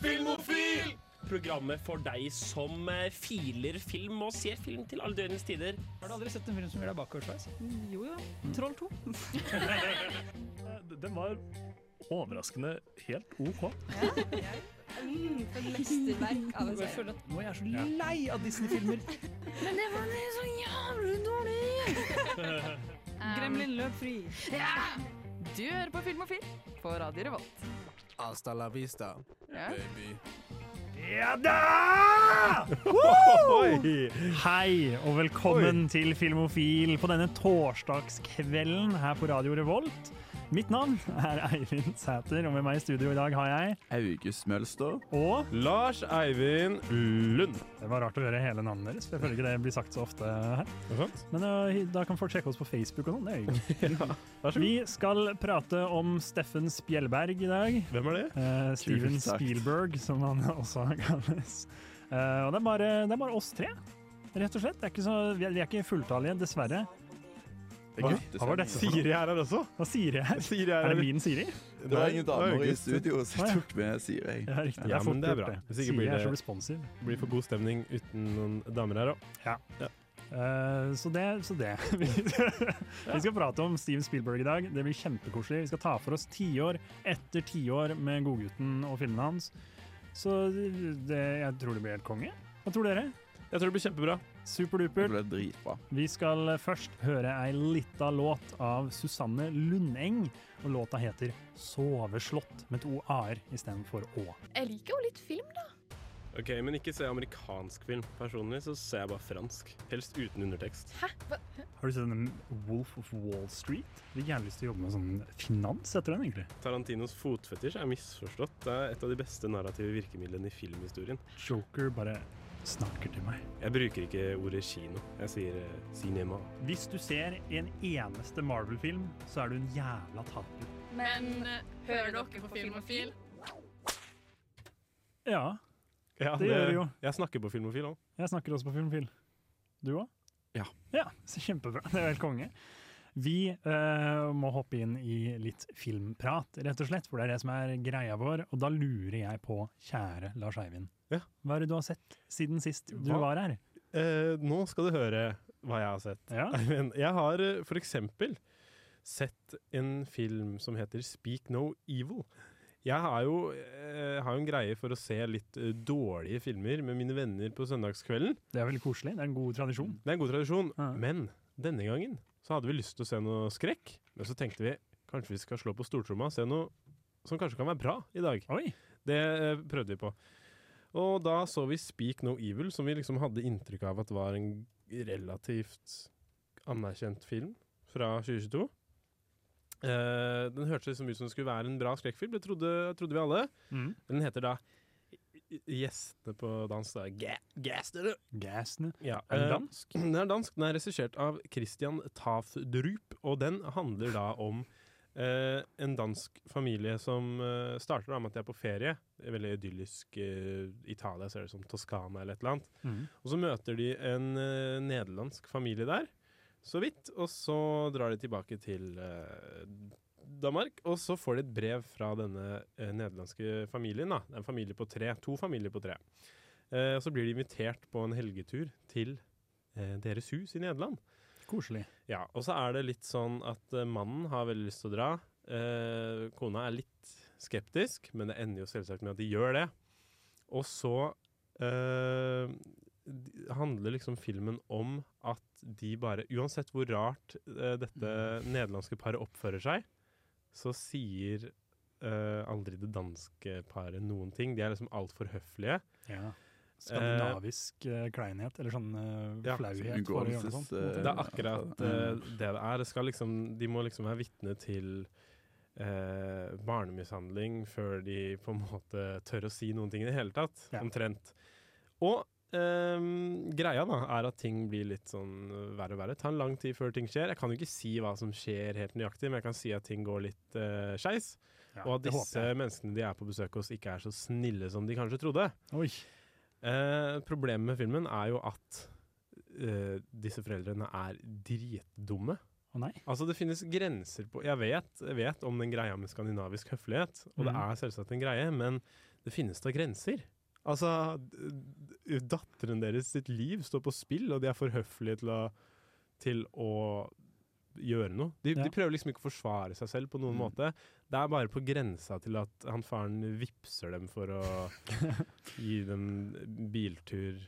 Filmofil! Programmet for deg som eh, filer film og ser film til alle døgnets tider. Har du aldri sett en film som gjør deg bakoversveis? Jo, jo. Troll 2. Den var overraskende helt OK. Mm, for et mesterverk av en Jeg serie. føler at nå er jeg så lei av Disney-filmer. Men det var så jævlig dårlig! Gremlin løp fri. Du hører på Filmofil på Radio Revolt. Hasta la vista, Ja. baby. Ja da! Oi! Hei, og velkommen til Filmofil på denne torsdagskvelden her på Radio Revolt. Mitt navn er Eivind Sæter, og med meg i studio i dag har jeg August Mølster. Og Lars Eivind Lund. Det var rart å høre hele navnet deres, for jeg føler ikke det blir sagt så ofte her. Er det sant? Men ø, da kan folk sjekke oss på Facebook og sånn. Det er jo hyggelig. Vi skal prate om Steffen Spjelberg i dag. Hvem er det? Eh, Steven Kult sagt. Spielberg, som han også kalles. Eh, og det er, bare, det er bare oss tre, rett og slett. Det er ikke så, vi, er, vi er ikke fulltallige, dessverre. Det Hva? guttestemning. Hva var dette? Siri er her også. Hva sier jeg her? Siri er Er her. det min Siri? Det var ingen damer i August. studio, Å, så ja. jeg tok med Siri. Ja, riktig. Ja, Jeg men fort det er gjort bra. Hvis ikke Siri blir er så det- responsiv. Det blir for god stemning uten noen damer her òg. Eh, så det. Så det. vi skal prate om Steven Spielberg i dag. Det blir kjempekoselig. Vi skal ta for oss tiår etter tiår med Godgutten og filmene hans. Så det, jeg tror det blir helt konge. Hva tror dere? Jeg tror det blir kjempebra. Superdupert. Det ble dritbra. Vi skal først høre ei lita låt av Susanne Lundeng. Og låta heter 'Soveslått', med to a-er istedenfor å. Jeg liker jo litt film. Ok, Men ikke se amerikansk film. Personlig så ser jeg bare fransk. Helst uten undertekst. Har du sett den Wolf of Wall Street? Jeg har lyst til å jobbe med sånn finans etter den, egentlig. Tarantinos fotfetisj er misforstått. Det er et av de beste narrative virkemidlene i filmhistorien. Joker bare snakker til meg. Jeg bruker ikke ordet kino. Jeg sier eh, cinema. Hvis du ser en eneste Marvel-film, så er du en jævla taper. Men eh, hører dere på Filmofil? Ja, Ja, Det gjør vi jo. Jeg snakker på Filmofil òg. Jeg snakker også på Filmfil. Du òg? Ja. Ja, så Kjempebra. Det er jo helt konge. Vi eh, må hoppe inn i litt filmprat, rett og slett, for det er det som er greia vår. Og da lurer jeg på, kjære Lars Eivind, Ja. hva er det du har sett siden sist du Hva? var her? Eh, nå skal du høre hva jeg har sett. Ja, Men jeg har eh, for eksempel sett en film som heter Speak No Evil. Jeg har jo, eh, har jo en greie for å se litt eh, dårlige filmer med mine venner på søndagskvelden. Det er veldig koselig. Det er en god tradisjon. Det er en god tradisjon. Ja. Men denne gangen så hadde vi lyst til å se noe skrekk. Men så tenkte vi kanskje vi skal slå på stortromma og se noe som kanskje kan være bra i dag. Oi! Det eh, prøvde vi på. Og da så vi Speak No Evil, som vi liksom hadde inntrykk av at var en relativt anerkjent film fra 2022. Eh, den hørtes liksom ut som det skulle være en bra skrekkfilm, det trodde, trodde vi alle. Mm. Men den heter da Gjestene på dans. Da. Ga- Gæstene. Gassene. Ja, Er den eh, dansk? Den er dansk. Den er regissert av Christian Tafdrup, og den handler da om eh, en dansk familie som eh, starter da med at de er på ferie. Det er Veldig idyllisk eh, Italia, ser det som Toskana eller et eller annet. Mm. Og så møter de en eh, nederlandsk familie der, så vidt, og så drar de tilbake til eh, Danmark, og så får de et brev fra denne eh, nederlandske familien. Da. Det er en familie på tre, to familier på tre. Eh, og så blir de invitert på en helgetur til eh, deres hus i Nederland. Koselig. Ja, og så er det litt sånn at eh, mannen har veldig lyst til å dra. Eh, kona er litt skeptisk, men det ender jo selvsagt med at de gjør det. Og så eh, d- handler liksom filmen om at de bare Uansett hvor rart eh, dette nederlandske paret oppfører seg, så sier eh, aldri det danske paret noen ting. De er liksom altfor høflige. Ja. Skandinavisk eh, kleinhet, eller sånn eh, Ja, flauhet. for å gjøre noe sånt, på en måte. unngåelses, Det er akkurat eh, Mm. det det er. Det skal liksom, de må liksom være vitne til eh, barnemishandling før de på en måte tør å si noen ting i det hele tatt. Ja. Omtrent. Og ehm, greia da er at ting blir litt sånn verre og verre. Det tar en lang tid før ting skjer. Jeg kan jo ikke si hva som skjer helt nøyaktig, men jeg kan si at ting går litt uh, skeis. Ja, og at det disse håper jeg. menneskene de er på besøk hos, ikke er så snille som de kanskje trodde. Oi. Eh, problemet med filmen er jo at eh, disse foreldrene er dritdumme. Å nei. Altså Det finnes grenser på Jeg vet, jeg vet om den greia med skandinavisk høflighet, og det Mhm. er selvsagt en greie, men Det finnes da grenser. Altså, d- d- datteren deres sitt liv står på spill, og de er for høflige til å, til å gjøre noe. De, Ja. de prøver liksom ikke å forsvare seg selv på noen måte. Det er bare på grensa til at han faren vipser dem for å gi dem biltur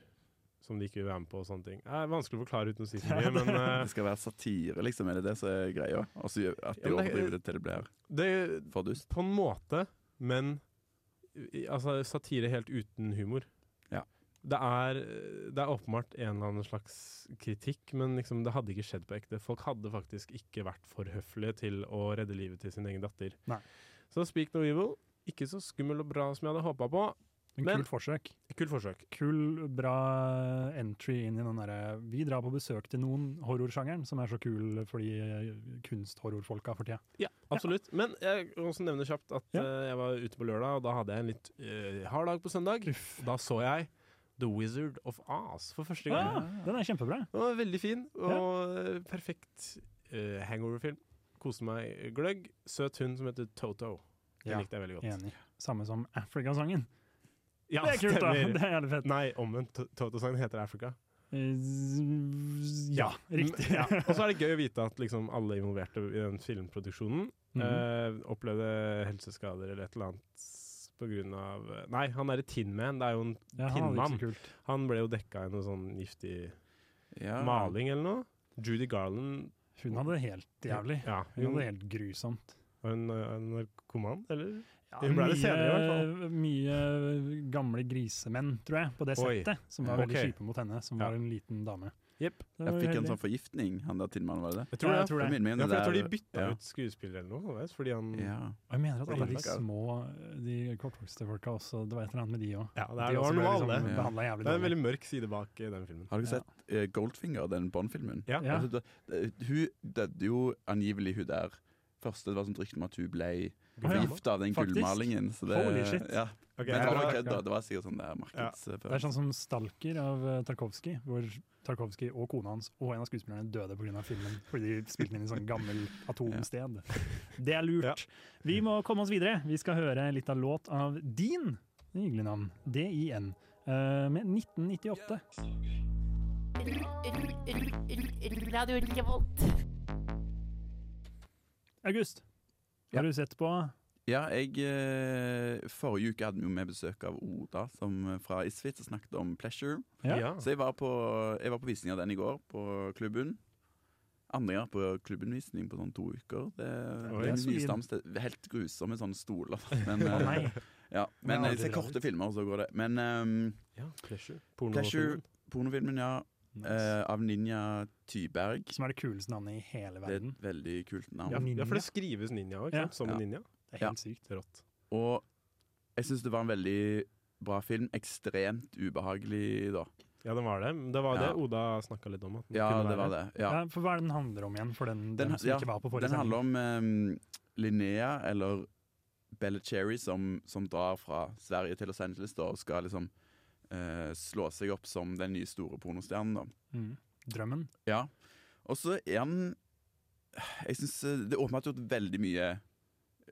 som de ikke vil være med på og sånne ting. Det er vanskelig å forklare uten å si for mye, men eh, Det skal være satire, liksom. Er det det som er greia? Og så gjør- at de Ja, men det- overdriver det til det blir det, for dust? på en måte, men i- altså, satire helt uten humor. Ja. Det er, det er åpenbart en eller annen slags kritikk, men liksom, det hadde ikke skjedd på ekte. Folk hadde faktisk ikke vært for høflige til å redde livet til sin egen datter. Nei. Så Speak No Evil, ikke så skummel og bra som jeg hadde håpa på. Men Men- kult forsøk. Kult forsøk. Kul, bra entry inn i den derre Vi drar på besøk til noen horrorsjangeren som er så kul for de eh, kunsthorrorfolka for tida. Ja, absolutt. Men jeg vil også nevne kjapt at Ja. eh, jeg var ute på lørdag, og da hadde jeg en litt eh, hard dag på søndag. Og da så jeg The Wizard of Oz for første gang. Ah, den er kjempebra. Den var veldig fin og eh, perfekt eh, hangover-film. Koste meg gløgg. Søt hund som heter Toto. Den Ja. likte jeg veldig godt. Enig. Samme som Africa-sangen. Ja, det er kult, da! stemmer. Det er jævlig fett. Nei, omvendt. To- Toto-sangen heter Africa. Eh, Ja, riktig. Ja. Og så er det gøy å vite at liksom alle involverte i den filmproduksjonen Mhm. eh, opplevde helseskader eller et eller annet på grunn av eh, Nei, han derre Tin Man. Det er jo en, Ja, han hadde Pinnmann. ikke så kult. han ble jo dekka i noe sånn giftig Ja. Ah. maling eller noe. Judy Garland Hun hadde det helt jævlig. Ja, Hun hadde hun det helt grusomt. var hun eh, narkoman, eller? Hun ble mye, det senere i hvert mye gamle grisemenn, tror jeg, på det Oi. settet, som var Ja. veldig Ok. kjipe mot henne, som Ja. var en liten dame. Jepp. Det Jeg var fikk en uheldig. sånn forgiftning, han der Tinnmannen, var det det? Jeg tror ja, det. jeg tror det. minner meg om Ja, det for jeg tror der- de bytta ja. ut skuespiller eller noe, vet, fordi Mm. han Ja, Ja. Og jeg mener at alle de Fordi- små, de kortvokste folka også, det var et eller annet med de òg. det er, det var noe av det. Ja. behandla jævlig Det er en dårlig. veldig mørk side bak eh, den filmen. Har dere sett eh, Goldfinger, den Bond-filmen? Ja. Ja. Altså, da- det- hun døde jo angivelig, hun der. Først det var sånt rykte om at hun ble Å, ja. forgifta av den Faktisk. gullmalingen. Så det, Holy shit. Ja. Men Ok, det jeg, var tror- kødd, da. Det var sikkert sånn det er markedsføring. Det er sånn som Stalker av eh, Tarkovsky, hvor Tarkovsky og kona hans og en av skuespillerne døde pga. filmen fordi de spilte den inn i sånn gammel atomsted. Det er lurt. Vi må komme oss videre. Vi skal høre litt av låt av Din. Hyggelig navn. DIN. eh, Med 1998. Radio Revolt. August, Ja. har du sett på Ja, jeg eh, Forrige uke hadde vi jo med besøk av Oda som, eh, fra Isfit og snakket om Pleasure. Ja. ja. Så jeg var på, jeg var på visning av den i går, på klubben. Andre gang på klubbenvisning på sånn to uker. Det, Oi. det er Solid. nye stamsted. Helt grusomme sånne stoler. Men, Å eh, nei. ja. men Ja, jeg det ser er korte filmer, så går det. Men ehm, ja, Pleasure. Porno Pleasure, pornofilmen, ja. Nice. eh, av Ninja Tyberg. Som er det kuleste navnet i hele Det er verden. et veldig kult ja, navn. ja, for Ninja. det skrives ninja òg, Ja. som Ja. ninja. Det er helt sykt. Rått. Og jeg syns det var en veldig bra film. Ekstremt ubehagelig, da. Ja, den var det. Men Det var det Ja. Oda snakka litt om. At den Ja, kunne det var være. det. Ja. Ja, for hva er det den handler om igjen, for den, Den dem ha- som ja, ikke var på forrige Den handler sending? om um, Linnea, eller Bella Cherry, som, som drar fra Sverige til Los Angeles da, og skal liksom eh, slå seg opp som den nye store pornostjernen. da. Mm. Drømmen. Ja. Og så er han Jeg syns det er åpenbart gjort veldig mye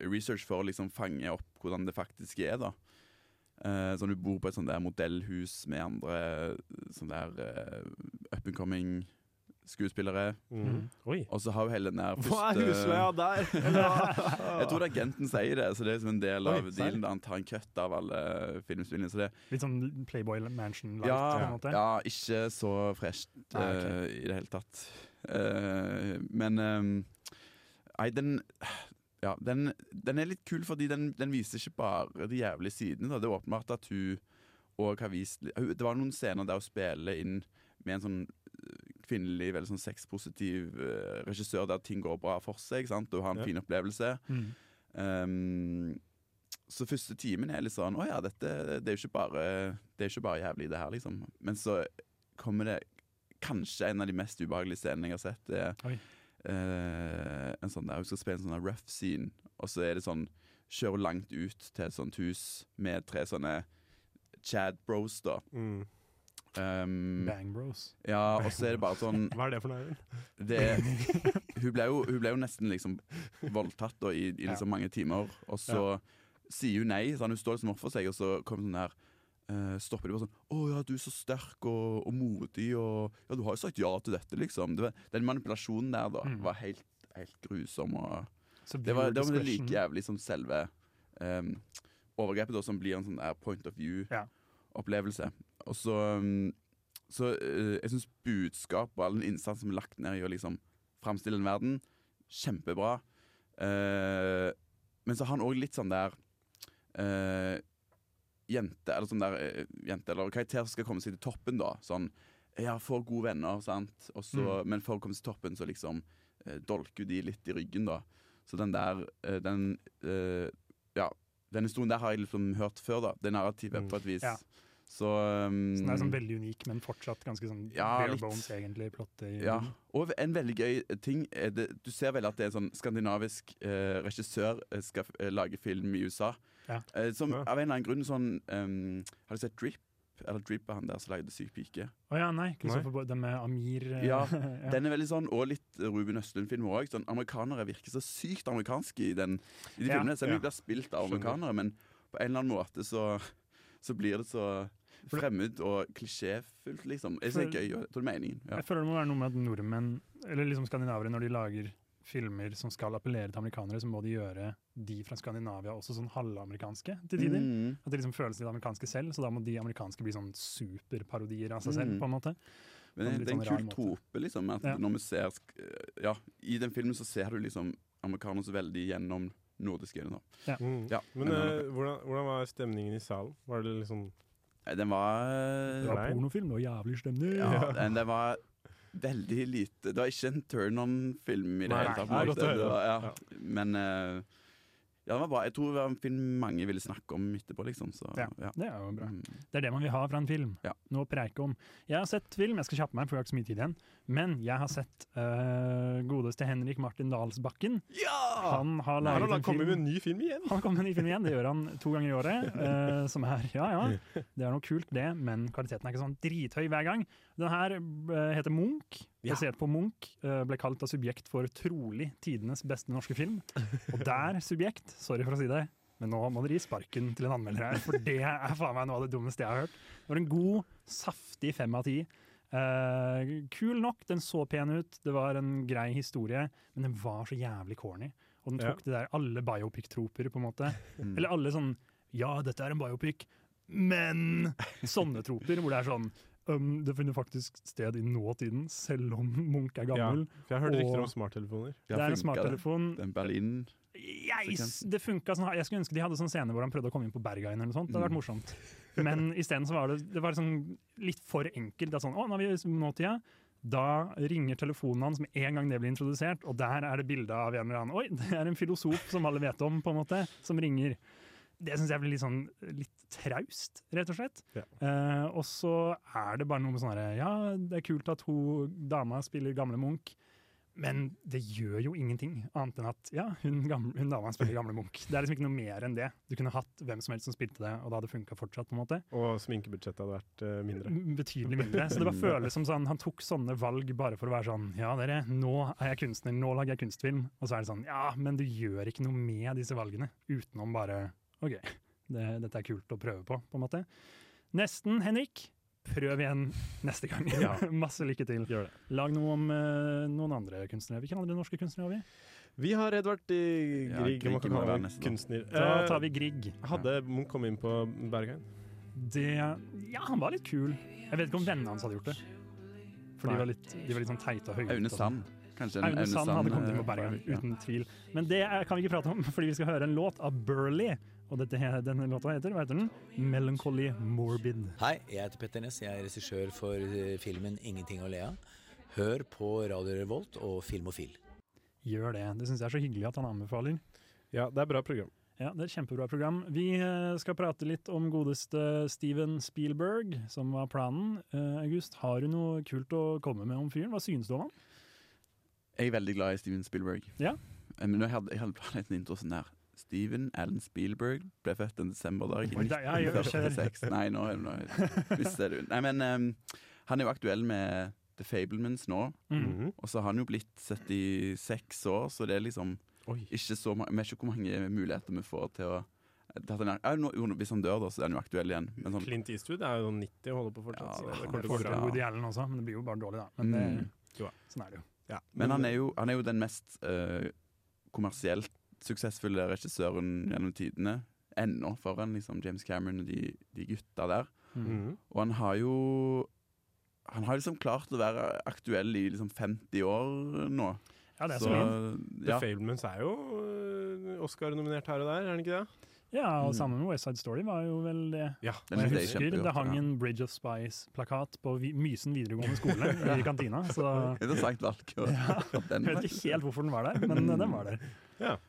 research for å liksom fange opp hvordan det faktisk er. da. Eh, sånn Du bor på et sånt der modellhus med andre sånn der eh, up and coming skuespillere. Mm. Oi. Og så har jo hele den der Hva er husleia der? Jeg tror det er agenten sier det, så det er som en del Oi, av serr? dealen. da Han tar en cut av alle filmspillene. Så det, Litt sånn Playboy Mansion light, på ja, en måte. ja, ikke så fresht Nei, ok. eh, i det hele tatt. Eh, men ehm, Nei, den Ja, den, den er litt kul fordi den, den viser ikke bare de jævlige sidene. Da. Det er åpenbart at hun òg har vist hun- Det var noen scener der hun spiller inn med en sånn eh, kvinnelig, veldig sånn sexpositiv eh, regissør der ting går bra for seg, sant? og har en Ja. fin opplevelse. Mm. Ehm, så første timen er litt sånn Å ja, dette det er, jo ikke bare, det er ikke bare jævlig, det her, liksom. Men så kommer det kanskje en av de mest ubehagelige scenene jeg har sett. Det er Oi. eh, en sånn der hun skal spille en sånn der rough scene, og så er det sånn Kjører hun langt ut til et sånt hus med tre sånne Chad bros, da. Mm. Ehm, Bang Bros. ja, og så er det bare sånn Hva er det for noe? Eivind? det, hun, ble jo, hun ble jo nesten liksom voldtatt da, i, i Ja. liksom mange timer. Og så sier hun nei. Sånn, hun står liksom opp for seg, og så kommer sånn her eh, Stopper de bare sånn 'Å ja, du er så sterk og, og modig, og Ja, du har jo sagt ja til dette', liksom. Det, var- den manipulasjonen der, da, Mm. var helt, helt grusom. Og Så det var, viewer det var det discretion. like jævlig som selve ehm, overgrepet, da, som blir en sånn der point of Ja. view-opplevelse. Og så ehm, Så eh, jeg syns budskap og all den innsatsen som er lagt ned i å liksom framstille en verden, kjempebra. Eh, men så har han òg litt sånn der eh, Jente eller sånn der eh, Jente eller karakter som skal komme seg til toppen, da. Sånn Ja, får gode venner, sant, og så, Mm. men for å komme seg til toppen, så liksom eh, dolker de litt i ryggen, da. Så den der eh, Den eh, Ja, den historien der har jeg liksom hørt før, da. Det narrativet, Mm. på et vis. Ja. Så um, Så den er sånn veldig unik, men fortsatt ganske sånn Ja, bare litt. bones, egentlig. Plottet i Ja, og en veldig gøy ting er det, Du ser vel at det er en sånn skandinavisk eh, regissør eh, skal eh, lage film i USA. Ja. Eh, som Ja. av en eller annen grunn sånn ehm, Har du sett Drip? Eller Drip er han der som lagde Syk pike. Å ja, nei. Christopher Bo- Den med Amir eh, Ja, ja. Den er veldig sånn, og litt Ruben Østlund-filmer òg. Sånn, amerikanere virker så sykt amerikanske i, den, i de Ja, filmene. Selv om ja. de blir spilt av Skjønner. amerikanere, men på en eller annen måte så, så blir det så fremmed og klisjéfullt, liksom. Jeg synes det er gøy, og jeg tror det er meningen. Ja. Jeg føler det må være noe med at nordmenn, eller liksom skandinavere, når de lager filmer som skal appellere til amerikanere, så må de gjøre de fra Skandinavia også sånn halvamerikanske til tider. Mm. At de liksom føles litt amerikanske selv, så da må de amerikanske bli sånn superparodier av seg selv, Mm. på en måte. Men På en litt det, det er en sånn rar kul måte. trope, liksom. At Ja. når vi ser sk- Ja, i den filmen så ser du liksom amerikanere så veldig gjennom nordiske øyne. da. Mm. Ja, Men men- eh, hvordan, hvordan var stemningen i salen? Var det liksom Nei, Den var Det var Nei. pornofilm, det var jævlig stemning! Ja, den, den var veldig lite Det var ikke en turn on-film i det Nei, hele tatt. nei, på en godt måte. å Det høre. var, ja. Men eh, ja, den var bra. Jeg tror det var en film mange ville snakke om etterpå, liksom. Så, ja. Det er jo bra. Mm. Det er det man vil ha fra en film. Ja. Noe å preike om. Jeg har sett film, jeg skal kjappe meg, for jeg har ikke så mye tid igjen. Men jeg har sett øh, godeste Henrik Martin Dalsbakken. Han har Ah. Han laget har da en kommet film. med en ny film igjen! Han kommer med en ny film igjen, det gjør han to ganger i året. eh, som er, ja ja, det er noe kult det, men kvaliteten er ikke sånn drithøy hver gang. Den her eh, heter Munch, Ja. basert på Munch. eh, ble kalt av Subjekt for trolig tidenes beste norske film. Og der, Subjekt, sorry for å si det, men nå må dere gi sparken til en anmelder her, for det er faen meg noe av det dummeste jeg har hørt. Det var en god, saftig fem av ti. Eh, kul nok, den så pen ut, det var en grei historie, men den var så jævlig corny. Og den Ja. tok det der alle biopic-troper, på en måte. Mm. Eller alle sånn Ja, dette er en biopic, men Sånne troper, hvor det er sånn «Øhm, Det finner faktisk sted i nåtiden, selv om Munch er Ja, gammel. for jeg har hørt Og- rykter om smarttelefoner. Ja, det er en funket det. smarttelefon. Den Berlin Jeg, Sekvensen. det funket sånn, jeg skulle ønske de hadde sånn scene hvor han prøvde å komme inn på Berghain eller noe sånt. Det hadde vært morsomt. Men isteden så var det, det var sånn litt for enkelt. Det er sånn, å, nå er vi i nåtida. Da ringer telefonen hans med en gang det blir introdusert, og der er det bilde av en eller annen Oi, det er en filosof som alle vet om, på en måte, som ringer. Det syns jeg blir litt sånn litt traust, rett og slett. Ja. Eh, og så er det bare noe med sånn herre Ja, det er kult at hun dama spiller gamle Munch. Men det gjør jo ingenting, annet enn at ja, hun, gamle, hun dama spiller gamle Munch. Det er liksom ikke noe mer enn det. Du kunne hatt hvem som helst som spilte det, og det hadde funka fortsatt. på en måte. Og sminkebudsjettet hadde vært eh, mindre. M- Betydelig mindre. Så det bare føles som sånn, han tok sånne valg bare for å være sånn Ja, dere, nå er jeg kunstner, nå lager jeg kunstfilm. Og så er det sånn Ja, men du gjør ikke noe med disse valgene utenom bare OK, det, dette er kult å prøve på, på en måte. Nesten, Henrik. Prøv igjen neste gang. Ja. Masse lykke til. Gjør det. Lag noe om eh, noen andre kunstnere. Hvilke andre norske kunstnere har vi? Vi har Edvard eh, Ja, Grieg, Grieg man kan må kalle være ham neste da. kunstner. Da Eh, tar vi Grieg. Hadde Munch kommet inn på Berghain? Det Ja, han var litt kul. Jeg vet ikke om vennene hans hadde gjort det. For de Nei. var, litt, de var litt sånn teite og høye. Aune Sand. Kanskje en Aune Sand hadde kommet inn på eh, Bergen, ja. uten tvil. Men det er, kan vi ikke prate om, fordi vi skal høre en låt av Burley. Og dette, he- denne låta heter, hva heter den? 'Melancholy Morbid'. Hei, jeg heter Petter Ness. Jeg er regissør for eh, filmen 'Ingenting å le av'. Hør på Radio Revolt og Filmofil. Gjør det. Det syns jeg er så hyggelig at han anbefaler. Ja, det er bra program. Ja, Det er et kjempebra program. Vi eh, skal prate litt om godeste Steven Spielberg, som var planen. Eh, August, har du noe kult å komme med om fyren? Hva synes du om han? Jeg er veldig glad i Steven Spielberg. Ja. Eh, Men jeg hadde, jeg hadde planlagt en intro sånn her. Steven Allen Spielberg ble født en desemberdag i Oi, der- ja, jeg gjør- 1946. Nei, nå, nå visste jeg det. Nei, men ehm, han er jo aktuell med The Fablemans nå. Mm. Og så har han jo blitt 76 år, så det er liksom Oi. ikke så mange Vi vet ikke hvor mange muligheter vi får til å Tatt den her. Ja, nå- jo, Hvis han dør, da, så er han jo aktuell igjen. Men sånn, Clint Eastwood er jo 90 og holder på fortsatt. Ja, så det han er kommer til å gå Foreslår bra. Ja. Woody Allen også, men det blir jo bare dårlig, da. Men det, Mm. jo, ja, sånn er det jo. Ja, men han er jo, han er jo den mest eh, kommersielt suksessfulle regissøren gjennom tidene. Ennå foran liksom, James Cameron og de, de gutta der. Mm. Mhm. Og han har jo Han har liksom klart å være aktuell i liksom 50 år nå. Ja, det er Så, så fint. The ja. Fablemans er jo øh, Oscar-nominert her og der, er han ikke det? Ja, og Mm. sammen med West Side Story var jo vel det. Ja. Den Og jeg synes jeg er husker kjempegodt, det hang ja. en Bridge of Spice-plakat på Vi- Mysen videregående skole i kantina, så Interessant valg. og- jeg den, vet ikke helt hvorfor den var der, men Mm. eh, den var der.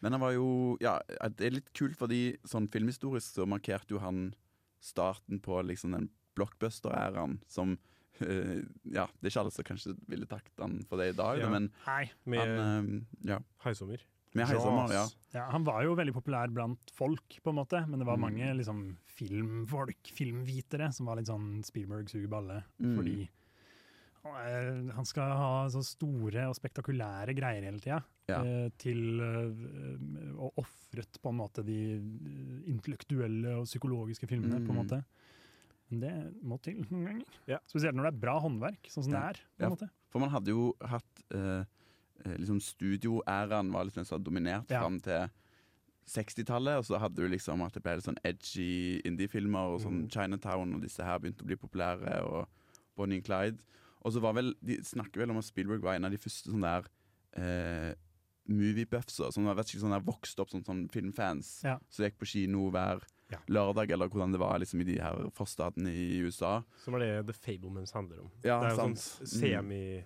Men han var jo Ja, at det er litt kult, fordi sånn filmhistorisk så markerte jo han starten på liksom den blockbuster-æraen som eh, Ja, det er ikke alle som kanskje ville takket han for det i dag, Ja. da, men Nei. Med han eh, Ja. Haisommer. Med Heisommer, ja. Ja, han var jo veldig populær blant folk, på en måte, men det var Mm. mange liksom, filmfolk, filmvitere, som var litt sånn Spielberg suger balle, Mm. fordi han er- han skal ha så store og spektakulære greier hele tida, Ja. eh, til eh, og ofret på en måte de eh, intellektuelle og psykologiske filmene, på en Mm. måte. Men det må til noen ganger. Ja. Spesielt når det er bra håndverk, sånn som Ja. det er. på Ja. en måte. For man hadde jo hatt eh, eh, liksom Studioæraen var liksom den som hadde dominert Ja. fram til 60-tallet, og så hadde du liksom at det ble litt sånn edgy indie-filmer, og sånn Mhm. Chinatown og disse her begynte å bli populære, og Bonnie and Clyde. Og så var vel De snakker vel om at Spielberg var en av de første sånne der eh, movie-buffser, som var vet ikke, sånn der vokste opp som sånn filmfans, Ja. som gikk på kino hver Ja. lørdag, eller hvordan det var liksom i de her forstadene i USA. Som er det The Fablemans handler om. Ja, det er jo sant. sånn semi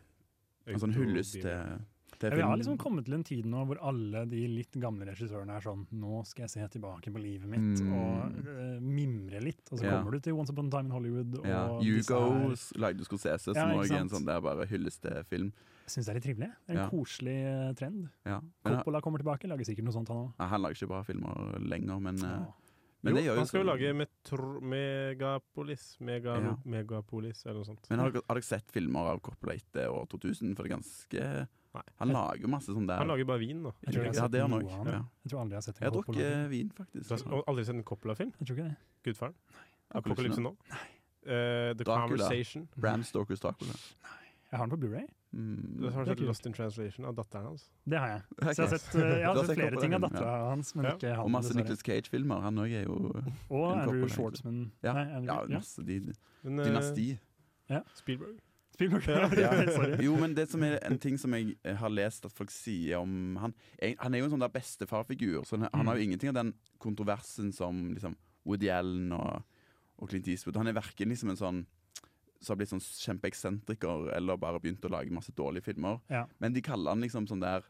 En sånn hyllest til, til Ja, vi har liksom film. kommet til en tid nå hvor alle de litt gamle regissørene er sånn Nå skal jeg se tilbake på livet mitt Mm. og eh, mimre litt. Og så Ja. kommer du til Once Upon a Time in Hollywood. Og Ja, disse her- Hugo lagde jo Scorsese, som Ja, ikke også er en sant? sånn der bare hyllestefilm. Jeg syns det er litt trivelig. Det er en Ja. koselig eh, trend. Ja. Men, Coppola kommer tilbake, lager sikkert noe sånt han òg. ja, han lager ikke bra filmer lenger, men, eh, men Men jo, det gjør han skal jo sånn- lage metro, Megapolis. Mega, Ja. Megapolis, eller noe sånt. Men har dere, har dere sett filmer av Coppola etter år 2000? For det er ganske Han lager masse sånn der Han lager bare vin, da. Jeg tror jeg Ja, har sett det har han noe nok. av det. Ja. Jeg tror aldri jeg har sett Jeg eh, en har Coppola. drukket vin, faktisk. Du har s- og aldri sett en Coppola-film? Jeg tror ikke det. Gudfaren? Apokalypse Apokalypse nå? Eh, The Dracula. Conversation. Bram Stokers Dracula. Jeg har den på Blu-ray. Mm. Du har Mm. Det er sett kult. Lost in Translation av datteren hans. Det har jeg. Ok. Så jeg har sett, eh, jeg Du har har sett sett flere ting av Coppola-filmen, dattera hans, men Ja. ikke han. Og masse dessverre. Nicholas Cage-filmer. Han òg er jo og en Andrew Coppola, egentlig. Schwartzman. Ja. Nei, Andrew, Ja, ja. masse de, Men, eh, Dynasti. Spielberg. Spielberg. Ja. Sorry. Mm. Jo, men det som er en ting som jeg eh, har lest at folk sier om han en- Han er jo en sånn der bestefarfigur, så han, han har jo ingenting av den kontroversen som liksom Woody Allen og, og Clint Eastwood. Han er verken liksom en sånn som har blitt sånn kjempeeksentriker eller bare begynt å lage masse dårlige filmer. Ja. Men de kaller han liksom sånn der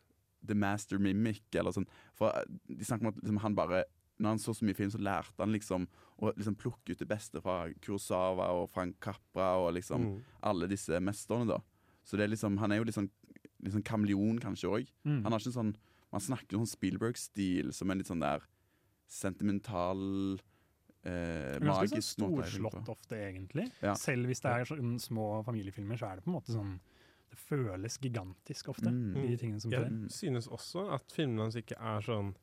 The Master Mimic, eller sånn. For eh, de snakker om at liksom, han bare når han så så mye film, så lærte han liksom å liksom plukke ut det beste fra Kurosawa og Frank Capra og liksom Mm. alle disse mesterne, da. Så det er liksom, han er jo litt sånn, litt sånn kameleon, kanskje òg. Mm. Han har ikke en sånn Man snakker om sånn Spielberg-stil som en litt sånn der sentimental Det er Ganske eh, sånn Magisk måte å gjøre storslått det på. ofte, egentlig. Ja. Selv hvis det er sånn små familiefilmer, så er det på en måte sånn Det føles gigantisk ofte, Mm. de tingene som skjer. Mm. Jeg synes også at filmene hans ikke er sånn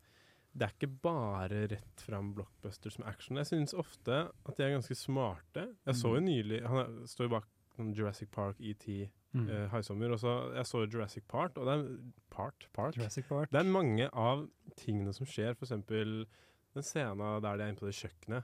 Det er ikke bare rett fram blockbusters med action. Jeg synes ofte at de er ganske smarte. Jeg så jo nylig Han er, står jo bak sånn Jurassic Park, ET, Mm. eh, Haisommer. Og så jeg så Jurassic Park, og det er Part? Park? Jurassic Park. Det er mange av tingene som skjer, f.eks. den scenen der de er inne på det kjøkkenet.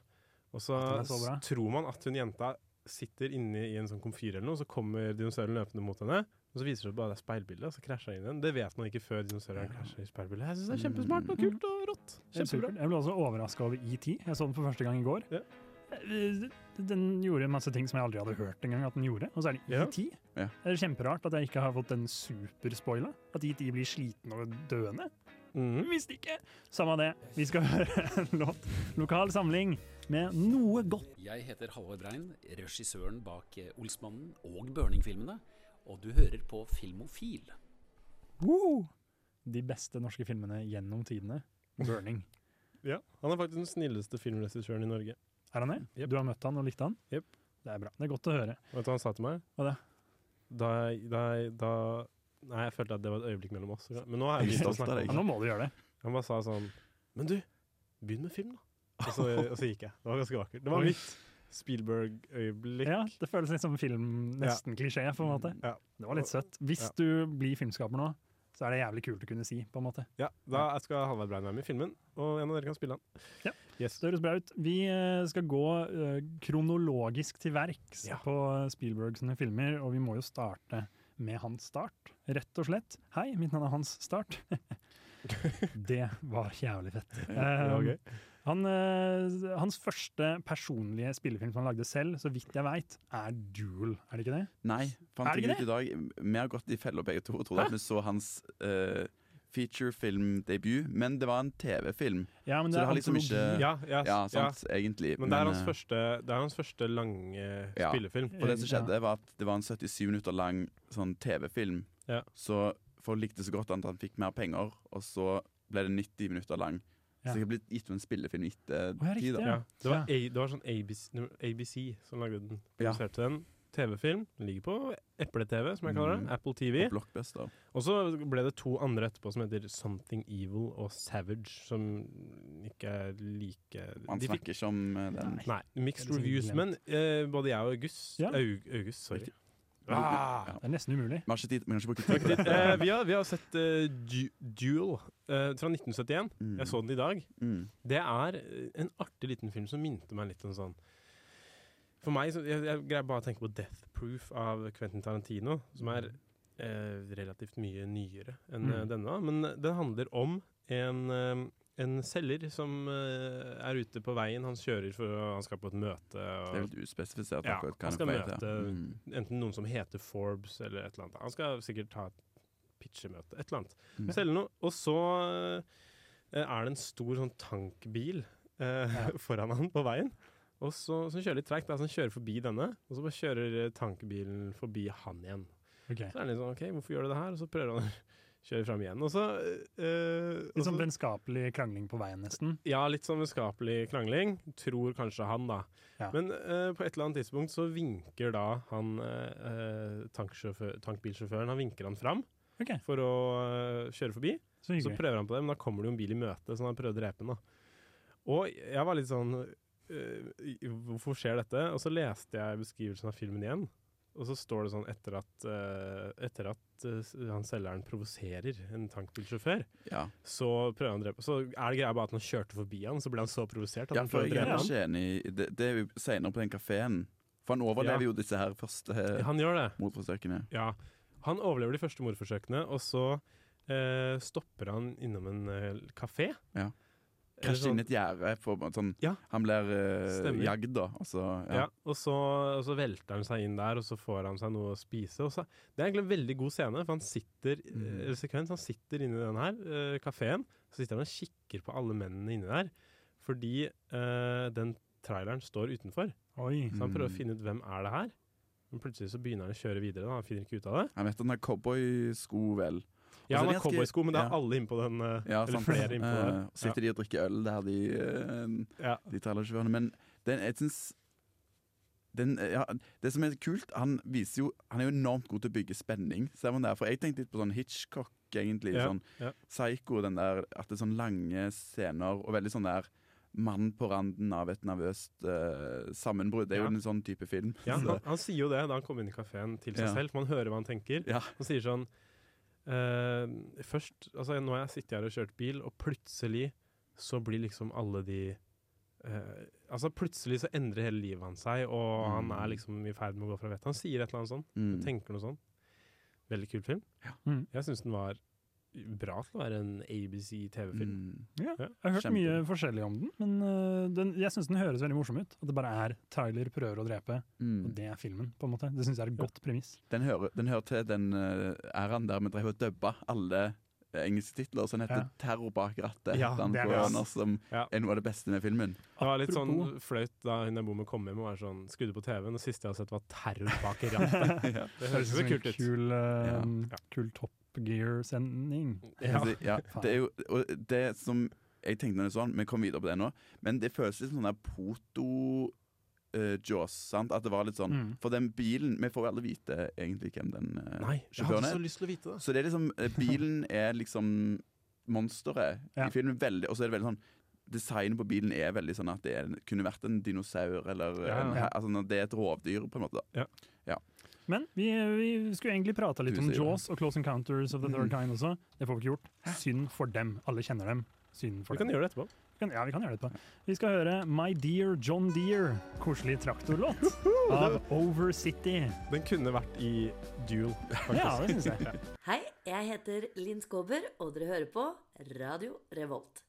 Og så, At den er så bra. s- tror man at hun jenta sitter inne i en sånn komfyr eller noe, så kommer dinosauren løpende mot henne. Og så viser det bare det er speilbildet, og så krasjer han inn i den. Det vet man ikke før dinosauren krasjer i speilbildet. Jeg synes det Mm. er kjempesmart og kult og rått. Kjempebra. Jeg ble også overraska over ET. Jeg så den for første gang i går. Ja. Eh, Den gjorde masse ting som jeg aldri hadde hørt engang at den gjorde, og så er det Ja. ET. Ja. Det er kjemperart at jeg ikke har fått den superspoila. At ET blir sliten og døende. Mhm. Visste ikke! Samme det, vi skal høre en låt. Lokal samling med noe godt. Jeg heter Halvor Brein, regissøren bak eh, Olsmannen og Børning-filmene. Og du hører på Filmofil. De beste norske filmene gjennom tidene. Burning. Ja. Han er faktisk den snilleste filmregissøren i Norge. Er han det? Jep. Du har møtt han og likte han? Jep. Det er bra. Det er godt å høre. Vet du hva han sa til meg? Hva da? Da, jeg- da, jeg- da Nei, jeg følte at det var et øyeblikk mellom oss. Men nå har jeg Jeg er begynt å stolt av snakke om deg. Ja, nå må du gjøre det. Han bare sa sånn Men du, begynn med film, da. og så, og så gikk jeg. Det var ganske vakkert. Det var Oi. mitt Spielberg-øyeblikk. Ja, det føles litt som film-nesten-klisjé, på en måte. Ja. Det var litt søtt. Hvis Ja. du blir filmskaper nå, så er det jævlig kult å kunne si, på en måte. Ja, da jeg skal Halvard Brein være med i filmen, og en av dere kan spille han. Ja. Yes. Det høres bra ut. Vi eh, skal gå eh, kronologisk til verks Ja. på Spielberg sine filmer, og vi må jo starte med hans start, rett og slett. Hei, mitt navn er Hans Start. det var jævlig fett. Det var gøy. Han, eh, hans første personlige spillefilm som han lagde selv, så vidt jeg veit, er Duel, er det ikke det? Nei, Er fant det jeg ikke ut i dag. Vi har gått i fella begge to og trodde at vi så hans eh, featurefilmdebut, men det var en TV-film. Ja, men det, Så det er har liksom antologi. ikke- Ja, ja, Ja, ja. sant, egentlig. Men det er hans eh, første, det er hans første lange Ja. spillefilm. Og det som skjedde, var at det var en 77 minutter lang sånn TV-film. Ja. Så folk likte så godt at han fikk mer penger, og så ble det 90 minutter lang. Ja. Så det har blitt gitt en spillefilm etter Å, ja, riktig, tid. da. ja. Ja. Det, var A, det var sånn ABC, no, ABC som lagde den. Ja. Produserte den. TV-film. Den ligger på Eple-TV, som jeg kaller Mm. det. Apple TV. Og Blockbuster. Og så ble det to andre etterpå som heter Something Evil og Savage, som ikke er like Man de fikk- snakker ikke om eh, den. Nei, mixed Det er liksom reviews, men eh, både jeg og August Ja. Aug, August, sorry. Riktig. Ah! Ja. Det er nesten umulig. Vi har ikke tid, vi kan ikke bruke tid på dette. Eh, vi, har, vi har sett eh, Du- Duel eh, fra 1971. Mm. Jeg så den i dag. Mm. Det er eh, en artig liten film som minte meg litt om sånn For meg, så, jeg, jeg greier bare å tenke på Death Proof av Quentin Tarantino, som er eh, relativt mye nyere enn eh, Mm. denne. da. Men den handler om en, eh, en selger som eh, er ute på veien. Han kjører for å- han skal på et møte. Det er Og litt uspesifisert. Ja, akkurat hva han er skal på vei til. møte- Mm. enten noen som heter Forbes eller et eller annet. Han skal sikkert ta et pitchemøte. Et eller annet. Mm. Selge noe. Og så eh, er det en stor sånn tankbil eh, foran han på veien. Og så, som kjører litt tregt. da, så Han kjører forbi denne, og så bare kjører eh, tankbilen forbi han igjen. Ok. Så er han litt sånn OK, hvorfor gjør du det her? Og så prøver han å kjøre fram igjen. Og så, eh, og Litt sånn så- vennskapelig krangling på veien, nesten. ja, litt sånn vennskapelig krangling, tror kanskje han, da. Ja. Men eh, på et eller annet tidspunkt så vinker da han eh, eh, tanksjåfør- tankbilsjåføren Han vinker han fram Ok. for å eh, kjøre forbi. Så Så hyggelig. prøver han på det, men da kommer det jo en bil i møte, så han prøver å drepe den. da. Og jeg var litt sånn øh, i- Hvorfor skjer dette? Og så leste jeg beskrivelsen av filmen igjen. Og så står det sånn etter at, øh, etter at øh, s- han selgeren provoserer en tankbilsjåfør, Ja. så prøver han å drepe Så er det greia bare at han kjørte forbi han, så ble han så provosert at ja, han for prøver å jeg er drepe han. ikke enig i det. Det er jo senere på den kafeen. For han overlever Ja. jo disse her første eh, Han gjør det. mordforsøkene. Ja. Han overlever de første mordforsøkene, og så eh, stopper han innom en eh, kafé. Ja. Eller sånn- Krasjer inn i et gjerde. for- Sånn, Ja. Han blir uh, Stemmer. jagd, da. Altså, Og så, Ja. og, så, og så velter han seg inn der, og så får han seg noe å spise. Og så, det er egentlig en veldig god scene, for han sitter eh, Mm. eller sekvens, han sitter inne i den her eh, kafeen. Så sitter han og kikker på alle mennene inni der, fordi eh, den traileren står utenfor. Oi. Så han prøver Mm. å finne ut hvem er det her. Men plutselig så begynner han å kjøre videre. Da. Han finner ikke ut av det. Han vet at han har cowboysko, vel. så Ja, er han har Altså, det ganske- cowboysko, men det er ja. alle innpå den. eh, Ja, eller sant. flere innpå Eh, den. og sitter de og drikker øl der, de, uh, Ja. de trailersjåførene. Men den, jeg syns den, eh, ja, det som er kult, han viser jo Han er jo enormt god til å bygge spenning. Ser man der, for Jeg tenkte litt på sånn Hitchcock, egentlig. Ja, Sånn ja. Psycho, den der At det er sånn lange scener og veldig sånn der Mann på randen av et nervøst eh, sammenbrudd. Det er Ja. jo en sånn type film. Ja, Så- han, han sier jo det da han kommer inn i kafeen til seg Ja. selv. Man hører hva han tenker. Ja. Han sier sånn eh, Først altså, Nå har jeg sittet her og kjørt bil, og plutselig så blir liksom alle de eh, Altså Plutselig så endrer hele livet hans seg, og han Mm. er liksom i ferd med å gå fra vettet. Han sier et eller annet sånn. Mm. Tenker noe sånn. Veldig kul film. Mm. Jeg syns den var bra til å være en ABC-TV-film. Mm. Ja, Ja, jeg har hørt mye kjempe. forskjellig om den, men øh, den, jeg syns den høres veldig morsom ut. At det bare er Tyler prøver å drepe, og Mm. det er filmen. på en måte. Det syns jeg er et godt premiss. Den hører, den hører til den uh, æraen der vi drev og dubba alle eh, engelske titler. Sånn heter Ja. 'Terror bak rattet'. Ja, heter den det er på det, ass. Anders, som Ja. er noe av det beste med filmen. Det var litt Apropos- sånn flaut da hun der bommen kom hjem og var sånn skrudde på TV-en, og siste jeg har sett, var 'Terror bak rattet'. ja. Det ut høres som en jo kult ut. Kul, øh, Ja. kul Top Gear-sending. Ja. Altså, ja. Faen. Det er jo og det som jeg tenkte når jeg så den, vi kom videre på det nå, men det føles litt sånn der proto-Jaws. sant? At det var litt sånn Mm. For den bilen Vi får jo aldri vite egentlig hvem den eh, Nei, jeg sjåføren hadde er. så lyst til å vite det. Så det er liksom eh, Bilen er liksom monsteret Ja. i filmen, veldig, og så er det veldig sånn designet på bilen er veldig sånn at det er, en- kunne vært en dinosaur eller Ja, en, ja. altså, Det er et rovdyr, på en måte. da. Men vi, vi skulle egentlig prata litt om Du sier det. Jaws og Close Encounters of the Third Mm. Kind også. Det får vi ikke gjort. Synd for dem. Alle kjenner dem. Synd for Vi kan dem. gjøre det etterpå. Vi kan, ja, vi kan gjøre det etterpå. Vi skal høre My Dear John Deere, koselig traktorlåt av Over City. Den kunne vært i duel. Ja, det syns jeg. Hei, jeg heter Linn Skåber, og dere hører på Radio Revolt.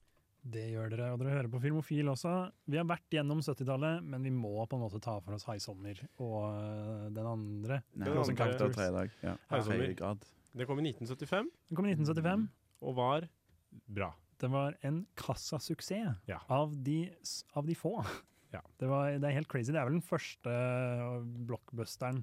Det gjør dere, og dere hører på Filmofil også. Vi har vært gjennom 70-tallet, men vi må på en måte ta for oss High Sommer og øh, den andre. Nei, altså, Den Close andre- Encounter tredje dag. Ja. Hei, Tredje Tommy. grad. Det kom i 1975 Den kom i 1975. og var bra. Det var en kassasuksess Ja. av, de, s- av de få. Ja. Det, var, det er helt crazy. Det er vel den første øh, blockbusteren,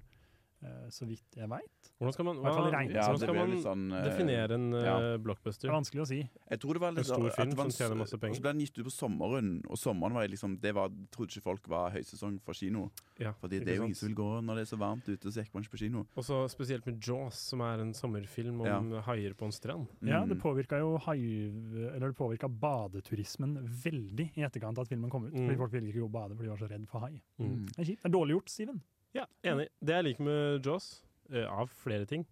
øh, så vidt jeg veit. Hvordan skal man, I hvert fall hva- regnet. Ja, hvordan det skal ble man litt sånn eh, definere en ja. eh, Det blockbuster? er vanskelig å si. Jeg tror det var En litt sånn, stor at film det var en som tjener s- masse penger. Og så ble den gitt ut på sommeren, og sommeren var liksom Det var, trodde ikke folk var høysesong for kino. Ja, Fordi ikke det er jo sant? ingen som vil gå når det er så varmt ute, så gikk man ikke på kino. Og så spesielt med Jaws, som er en sommerfilm om haier på en strand. Ja, det Mm. påvirka jo hai, eller det påvirka badeturismen veldig i etterkant av at filmen kom ut. Mm. Fordi folk ville ikke gå og bade, for de var så redd for hai. Mm. Det er kjipt. Det er dårlig gjort, Steven. Ja, enig. Det jeg liker med Jaws, eh, av flere ting,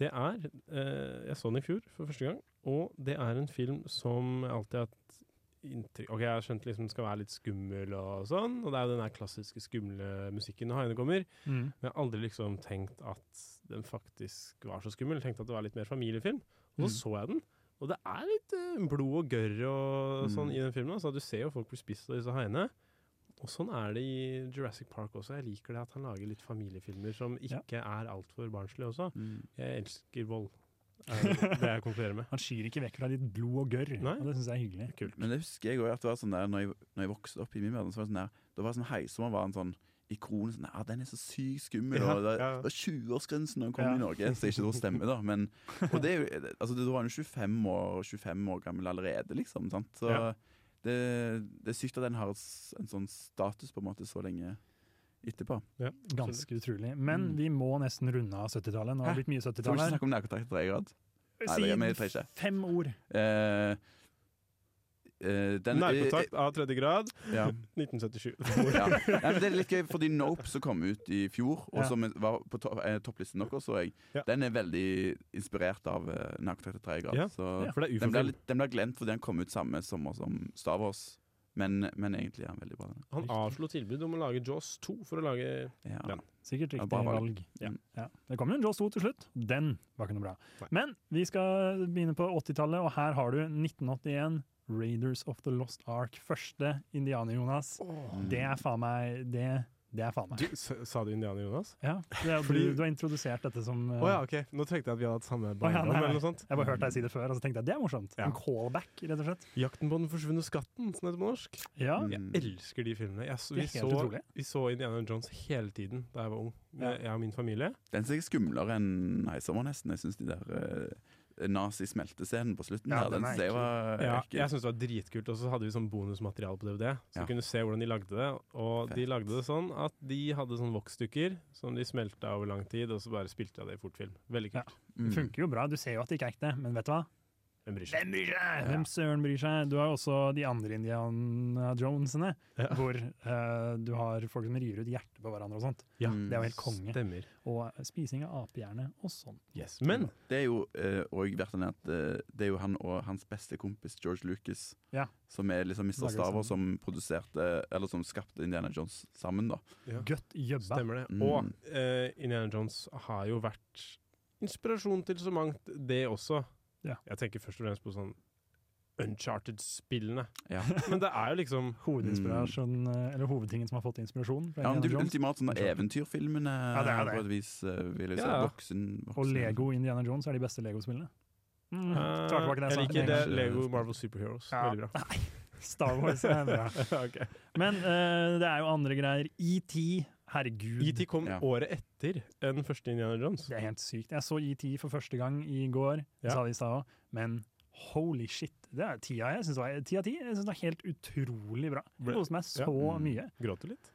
det er eh, Jeg så den i fjor for første gang, og det er en film som jeg alltid har hatt inntrykk Ok, jeg har skjønt liksom den skal være litt skummel og sånn, og det er jo den der klassiske skumle musikken når haiene kommer, Mm. men jeg har aldri liksom tenkt at den faktisk var så skummel. Tenkte at det var litt mer familiefilm. Og Mm. så så jeg den, og det er litt eh, blod og gørr og sånn Mm. i den filmen. Altså, du ser jo folk blir spist av disse haiene. Og sånn er det i Jurassic Park også. Jeg liker det at han lager litt familiefilmer som Ja. ikke er altfor barnslige også. Mm. Jeg elsker vold. Er det jeg konkluderer med. Han skyr ikke vekk fra ditt blod og gørr, Nei. og det syns jeg er hyggelig. Men det husker jeg også at det var sånn der når jeg, når jeg vokste opp i min verden, så var det sånn der Da var det sånn Heisommer var en sånn ikon sånn, ah, Den er så sykt skummel, Ja, og det, ja. det var 20-årsgrensen da den kom Ja. i Norge, så jeg ikke tror stemmer, da. Men, og det er jo Altså, da var han jo 25 år, 25 år gammel allerede, liksom, sant. Så Ja. det, det er sykt at den har s- en sånn status, på en måte, så lenge etterpå. Ja, Ganske utrolig. Men Mm. vi må nesten runde av 70-tallet. Nå har det blitt mye Skal vi 70-tall ikke her. snakke om nærkontakt i tredje grad? Nei, det- men jeg tar Si ikke. fem ord. Eh, eh, den- Nærkontakt av tredje grad, eh, Ja. 1977. ja. Nei, men det er litt gøy, fordi Nope som kom ut i fjor, og Ja. som var på to eh, topplisten deres, så jeg, Ja. den er veldig inspirert av uh, Nærkontakt til tredje grad. Ja. Så For det er Den, ble ufofilm. litt, den ble glemt fordi den kom ut samme sommer som Star Wars, men, men egentlig er den veldig bra. den. Han avslo tilbud om å lage Jaws 2 for å lage Ja. Ja. Sikkert Ja, riktig bra valg. valg. Ja. Ja. Det kom jo en Jaws 2 til slutt. Den var ikke noe bra. Nei. Men vi skal begynne på 80-tallet, og her har du 1981. Raiders of the Lost Ark. Første indianer, Jonas. Mm. Det er faen meg Det, det er faen meg. du, s- Sa du indianer, Jonas? Ja, det er, Fordi- du, du har introdusert dette som eh, Å ja, OK. Nå tenkte jeg at vi hadde hatt samme ja, barndom nei, eller nei. noe sånt. Jeg har bare hørt deg si det før, og så tenkte jeg det er morsomt. Ja. En callback, rett og slett. 'Jakten på den forsvunne skatten', som det heter på norsk. Ja, Jeg Mm. elsker de filmene. Jeg, så- Det vi, er helt så, utrolig. vi så Indiana Jones hele tiden da jeg var ung, Ja. jeg og min familie. Den som er skumlere enn Heisommer, nesten. Jeg syns de der eh, nazi-smeltescenen på slutten Ja, der, den den er synes jeg var Ja, ekkel. jeg syntes det var dritkult. Og så hadde vi sånn bonusmateriale på DVD, så Ja. vi kunne se hvordan de lagde det. Og de Fett. lagde det sånn at de hadde sånn voksstykker som de smelta over lang tid, og så bare spilte jeg det i fortfilm. Veldig kult. det Mm. funker jo bra. Du ser jo at det ikke er ekte, men vet du hva? Hvem bryr seg? Nei, Hvem søren bryr seg? Du har jo også de andre Indiana Jonesene, Ja. hvor eh, du har folk som rir ut hjertet på hverandre og sånt. Ja, Mm. Det er jo helt konge. Stemmer. Og spising av apehjerne og sånn. sånt. Yes. Men Det er jo eh, og verdt å nevne at eh, det er jo han og hans beste kompis George Lucas Ja. som er liksom Lager Mr. det Star Wars, som produserte Eller som skapte Indiana Jones sammen, da. ja. Godt jobba. Stemmer det. Mm. Og eh, Indiana Jones har jo vært inspirasjon til så mangt, det også. Ja. Jeg tenker først og fremst på sånn Uncharted-spillene. Ja. Men Mm. det er jo liksom Hovedinspirasjon, eh, eller hovedtingen som har fått inspirasjon fra Ja, men Indiana de Jones. ultimate sånne Sure. eventyrfilmene Ja, det er det. på et vis, eh, vil jeg si. Ja, ja. Voksen, voksen. Og Lego Indiana Jones er de beste Lego-spillene. Mm. Eh, tar tilbake det jeg jeg sa. liker det. Kanskje- Lego Marvel Superheroes. Ja. Veldig bra. Star Wars er bra. Ok. Men eh, det er jo andre greier. ET, herregud. ET E kom Ja. året etter den første Indiana Jones. Det er helt sykt. Jeg så ET for første gang i går, Ja. jeg sa det i stad òg, men holy shit. Det er ti av jeg synes det var- ti av ti. Jeg syns det var helt utrolig bra. Jeg Ble- koste meg så Ja. Mm. mye. Gråt du litt?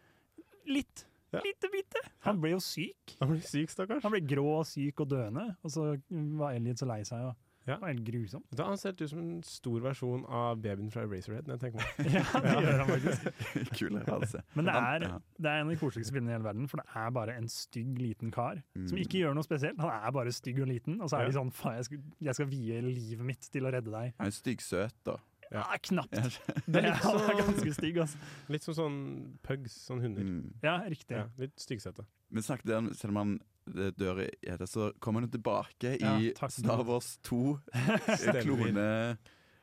Litt. Ja. Lite bitte. Han ble jo syk. Han blir syk, stakkars. Han ble grå og syk og døende, og så var Elliot så lei seg. Og Ja. Det var helt grusomt. Da han ser ut som en stor versjon av babyen fra Eraserhead. Når jeg tenker meg. om. Ja, det gjør han faktisk. Kul referanse. Men det er, Ja. det er en av de koseligste filmene i hele verden, for det er bare en stygg liten kar som ikke gjør noe spesielt. Han er bare stygg og liten, og så er de Ja. sånn faen, jeg, skal- jeg skal vie livet mitt til å redde deg. Han er styggsøt, da. Ja. Ah, knapt. Ja. Det er, han er sånn- ganske stygg, altså. Litt som sånn pugs, sånn hunder. Mm. Ja, riktig. Ja, litt styggsete. Men snakket om, selv om han eh, dør i i det, så kommer han jo tilbake i Ja, takk. Star Wars 2. eh, Klone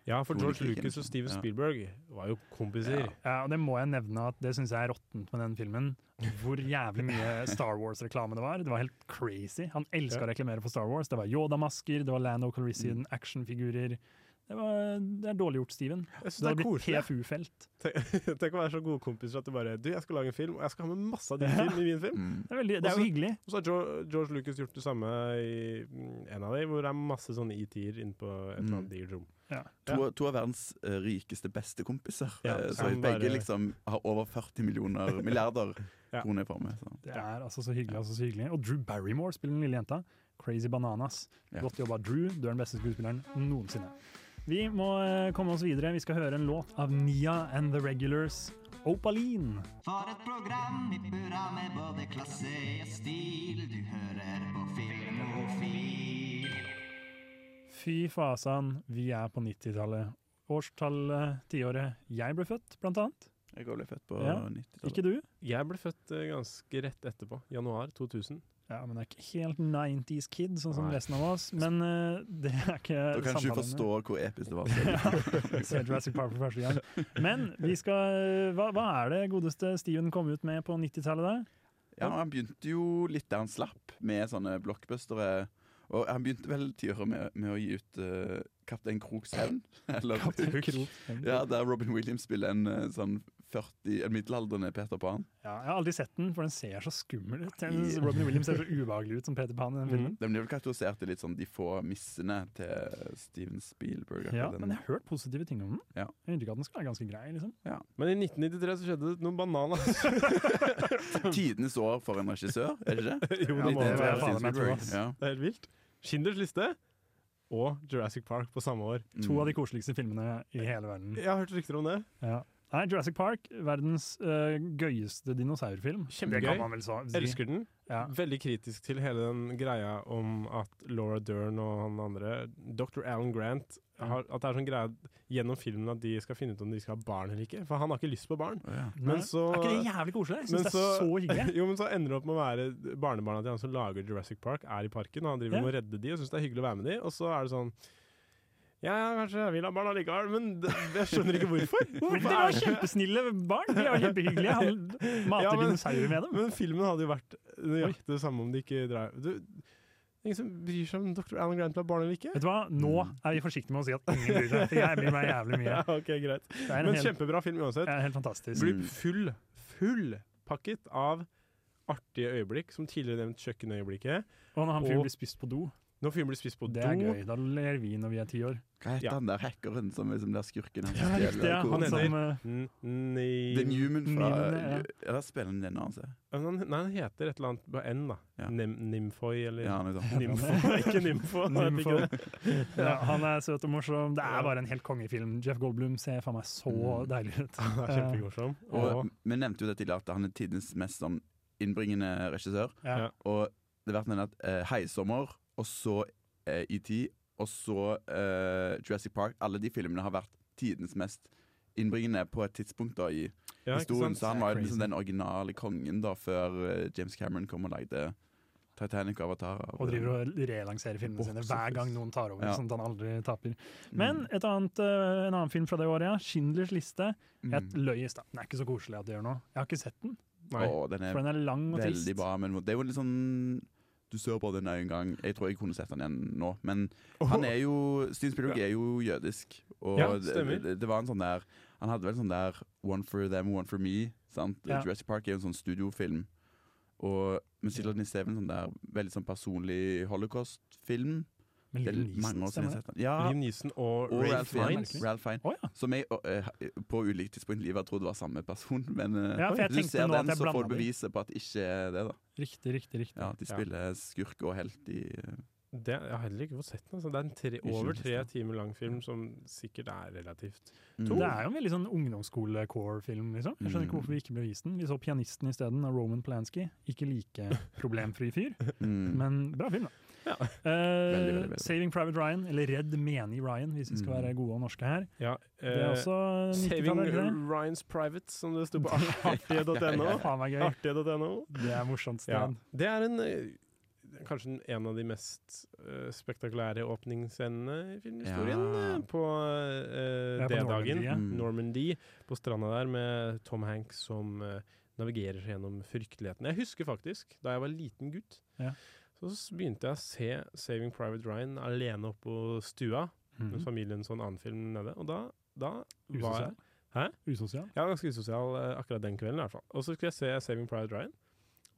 Ja, for George Hodekikken. Lucas og Steven Ja. Spielberg var jo kompiser. Ja, og det må jeg nevne at det syns jeg er råttent med den filmen. Hvor jævlig mye Star Wars-reklame det var. Det var helt crazy. Han elska å reklamere for Star Wars. Det var Yoda-masker, det var Lando Calrissian, actionfigurer. Det, var, det er dårlig gjort, Steven. Jeg synes Det det hadde er blitt koselig. PFU-felt. Tenk tenk å være så gode kompiser at du bare Du, jeg skal lage en film, og jeg skal ha med masse av din film i min film. Mm. Det er, veldig, det er Også- jo hyggelig. Og så har Jo- George Lucas gjort det samme i mm, en av dem, hvor det er masse sånn sånne ET-er inne på et eller Mm. annet digert rom. To, to av verdens eh, rikeste bestekompiser. Ja, eh, så som bare- begge liksom har over 40 millioner milliarder Ja. kroner i formue. så. Det er altså så hyggelig, altså så hyggelig. Og Drew Barrymore spiller den lille jenta. Crazy Bananas. Ja. Godt jobba, Drew. Du er den beste skuespilleren noensinne. Vi må eh, komme oss videre. Vi skal høre en låt av Nia and The Regulars, Opaline. For et program i burra med både klasse og stil. Du hører på Filmofil. Fy fasan, vi er på 90-tallet. Årstallet, tiåret jeg ble født, blant annet. Jeg ble født på Ja. 90-tallet. Ikke du? Jeg ble født eh, ganske rett etterpå. Januar 2000. Ja, men det er ikke helt 90s kid, sånn som Nei. resten av oss. Men eh, det er ikke Da kan ikke du forstå hvor episk det var. selv. Se Jurassic Park for første gang. Men vi skal, eh, hva, hva er det godeste Steven kom ut med på 90-tallet da? Ja, han begynte jo litt der han slapp, med sånne blockbustere. Og han begynte vel tiåret med, med å gi ut uh, 'Kaptein Kroks hevn'. Eller Hook. Ja. Ja, der Robin Williams spiller en eh, sånn 40, en middelaldrende Peter Pan. jeg har aldri sett den, for den ser så skummel ut. Jeg synes Ja. Robin Williams ser så ubehagelig ut som Peter Pan i den filmen. De blir vel kategorisert i litt sånn de få missene til Steven Spielberg. Ja, akkurat Mm. den. men jeg har hørt positive ting om den. Ja. Jeg har inntrykk av at den skal være ganske grei, liksom. Men i 1993 så skjedde det noen bananer. Tidenes år for en regissør, er det ikke det? jo, Ja, det, må det det, var være. jeg faen meg tror, ass. Spielberg. Ja. det er helt vilt. Schindlers liste og Jurassic Park på samme år. mm. To av de koseligste filmene i hele verden. Jeg har hørt rykter om det. Ja. Nei, Jurassic Park, verdens øh, gøyeste dinosaurfilm. Kjempegøy. Det kan man vel så- si. Elsker den. Ja. Veldig kritisk til hele den greia om at Laura Dern og han andre, dr. Alan Grant, Mm. har, at det er sånn greie gjennom filmen at de skal finne ut om de skal ha barn eller ikke. For han har ikke lyst på barn. Å, ja. Nei, Men så Er ikke det jævlig koselig? Jeg syns men det er så hyggelig. jo, men så ender det opp med å være barnebarna til han som lager Jurassic Park, er i parken, og han driver Ja. med å redde de og syns det er hyggelig å være med de, og så er det sånn ja, ja, kanskje jeg vil ha barn allikevel, men det, jeg skjønner ikke hvorfor. Hvorfor? Dere var kjempesnille barn! De var kjempehyggelige. Han mater Ja, men- dinosaurer med dem. Men filmen hadde jo vært nøyaktig det samme om de ikke dreier du, Ingen som bryr seg om dr. Alan Grant ble barn eller ikke? Vet du hva? Nå er vi forsiktige med å si at ingen bryr seg, for jeg bryr meg jævlig mye. Ja, ok, greit. Det er, en Men helt, kjempebra film uansett. er helt fantastisk. Blir full, full pakket av artige øyeblikk, som tidligere nevnt kjøkkenøyeblikket. Og når han fyren Og- blir spist på do, Når filmen blir spist på det er do gøy. Da ler vi når vi er ti år. Hva heter Ja. han der hackeren som er som der skurken? Han Ja, som riktig. Ja. stjeler Han koden? heter- som øh, N- Nei The Newman fra Newman, ja. ja. der spiller han en annen. ser jeg. Ja, men han- Nei, han heter et eller annet på N, da. Ja. Nem Nimfoy, eller Ja, han er sånn. Nymfo. ikke Nymfo. han heter Nymfo. ikke det. eh, Ja, han er søt og morsom. Det er bare en helt kongefilm. Jeff Goldblum ser faen meg så Mm. deilig ut. Han er kjempegorsom. Og Og vi nevnte jo det tidligere at han er tidens mest sånn innbringende regissør. Ja. Ja. Og det har vært nevnt at eh, 'Heisommer', og så eh, ET, og så eh, Jurassic Park. Alle de filmene har vært tidens mest innbringende på et tidspunkt da i ja, ikke historien. sant? Så han var jo Crazy. liksom den originale kongen da før eh, James Cameron kom og lagde 'Titanic' og 'Avatar'. Og driver og relanserer filmene Box sine hver gang noen tar over, Ja. sånn at han aldri taper. Mm. Men et annet, eh, en annen film fra det året, ja. 'Schindlers liste'. Mm, Jeg løy i stad. Den er ikke så koselig at det gjør noe. Jeg har ikke sett den, Nei. Å, den er for den er lang og trist. Veldig bra, men det er jo litt sånn Du ser bare den én gang. Jeg tror jeg kunne sett den igjen nå, men han er jo Steven Spielberg er jo jødisk, og Ja, det, stemmer. det, det var en sånn der Han hadde vel sånn der One for them, one for me. Sant? Ja. Jurassic Park er jo en sånn studiofilm. Og Musilla Nisse er vel en sånn der veldig sånn personlig holocaust-film. Men Det er Liam Neeson, mange år siden jeg har stemmer det? sett den. Ja, Liam Neeson og og, Ray Ralph Fiennes. Fiennes. Ralph Fiennes. Å ja. Som jeg eh, på ulike tidspunkt i livet har trodd var samme person, men eh, Ja, for jeg du tenkte ser nå at den, jeg så får blandet de. du beviset på at ikke er det, da. Riktig, riktig, riktig. Ja, at de Ja. spiller skurk og helt i eh, Det, jeg har heller ikke fått sett den. altså. Det er en tre, Ikke over lyst tre til. timer lang film som sikkert er relativt Mm. tung. Det er jo en veldig sånn ungdomsskole-core-film. liksom. Jeg skjønner ikke Mm. hvorfor vi ikke ble vist den. Vi så 'Pianisten' isteden av Roman Polanski. Ikke like problemfri fyr, Mm. men bra film, da. Ja. Eh, Veldig, veldig, veldig. 'Saving Private Ryan', eller 'Redd menig Ryan', hvis vi skal Mm. være gode og norske her. Ja, Det er eh, også 90-tallet, er det ikke det? Saving Ryan's Private, som det sto på artige.no. Faen meg gøy. Artige.no. Det er morsomt sted. Ja. Det er en eh, Kanskje den- en av de mest eh, spektakulære åpningsscenene i filmhistorien. Ja. eh, På eh, Ja, på D-dagen, Normandie, ja. Mm. Normandie, på stranda der med Tom Hanks som eh, navigerer seg gjennom frykteligheten. Jeg husker faktisk, da jeg var liten gutt, Ja. så s- begynte jeg å se 'Saving Private Ryan' alene oppe på stua, Mm. Mhm. mens familien så en annen film nede. Og da, da var jeg Usosial. Hæ? Usosial. jeg var ganske usosial eh, akkurat den kvelden. i hvert fall. Og så skulle jeg se Saving Private Ryan.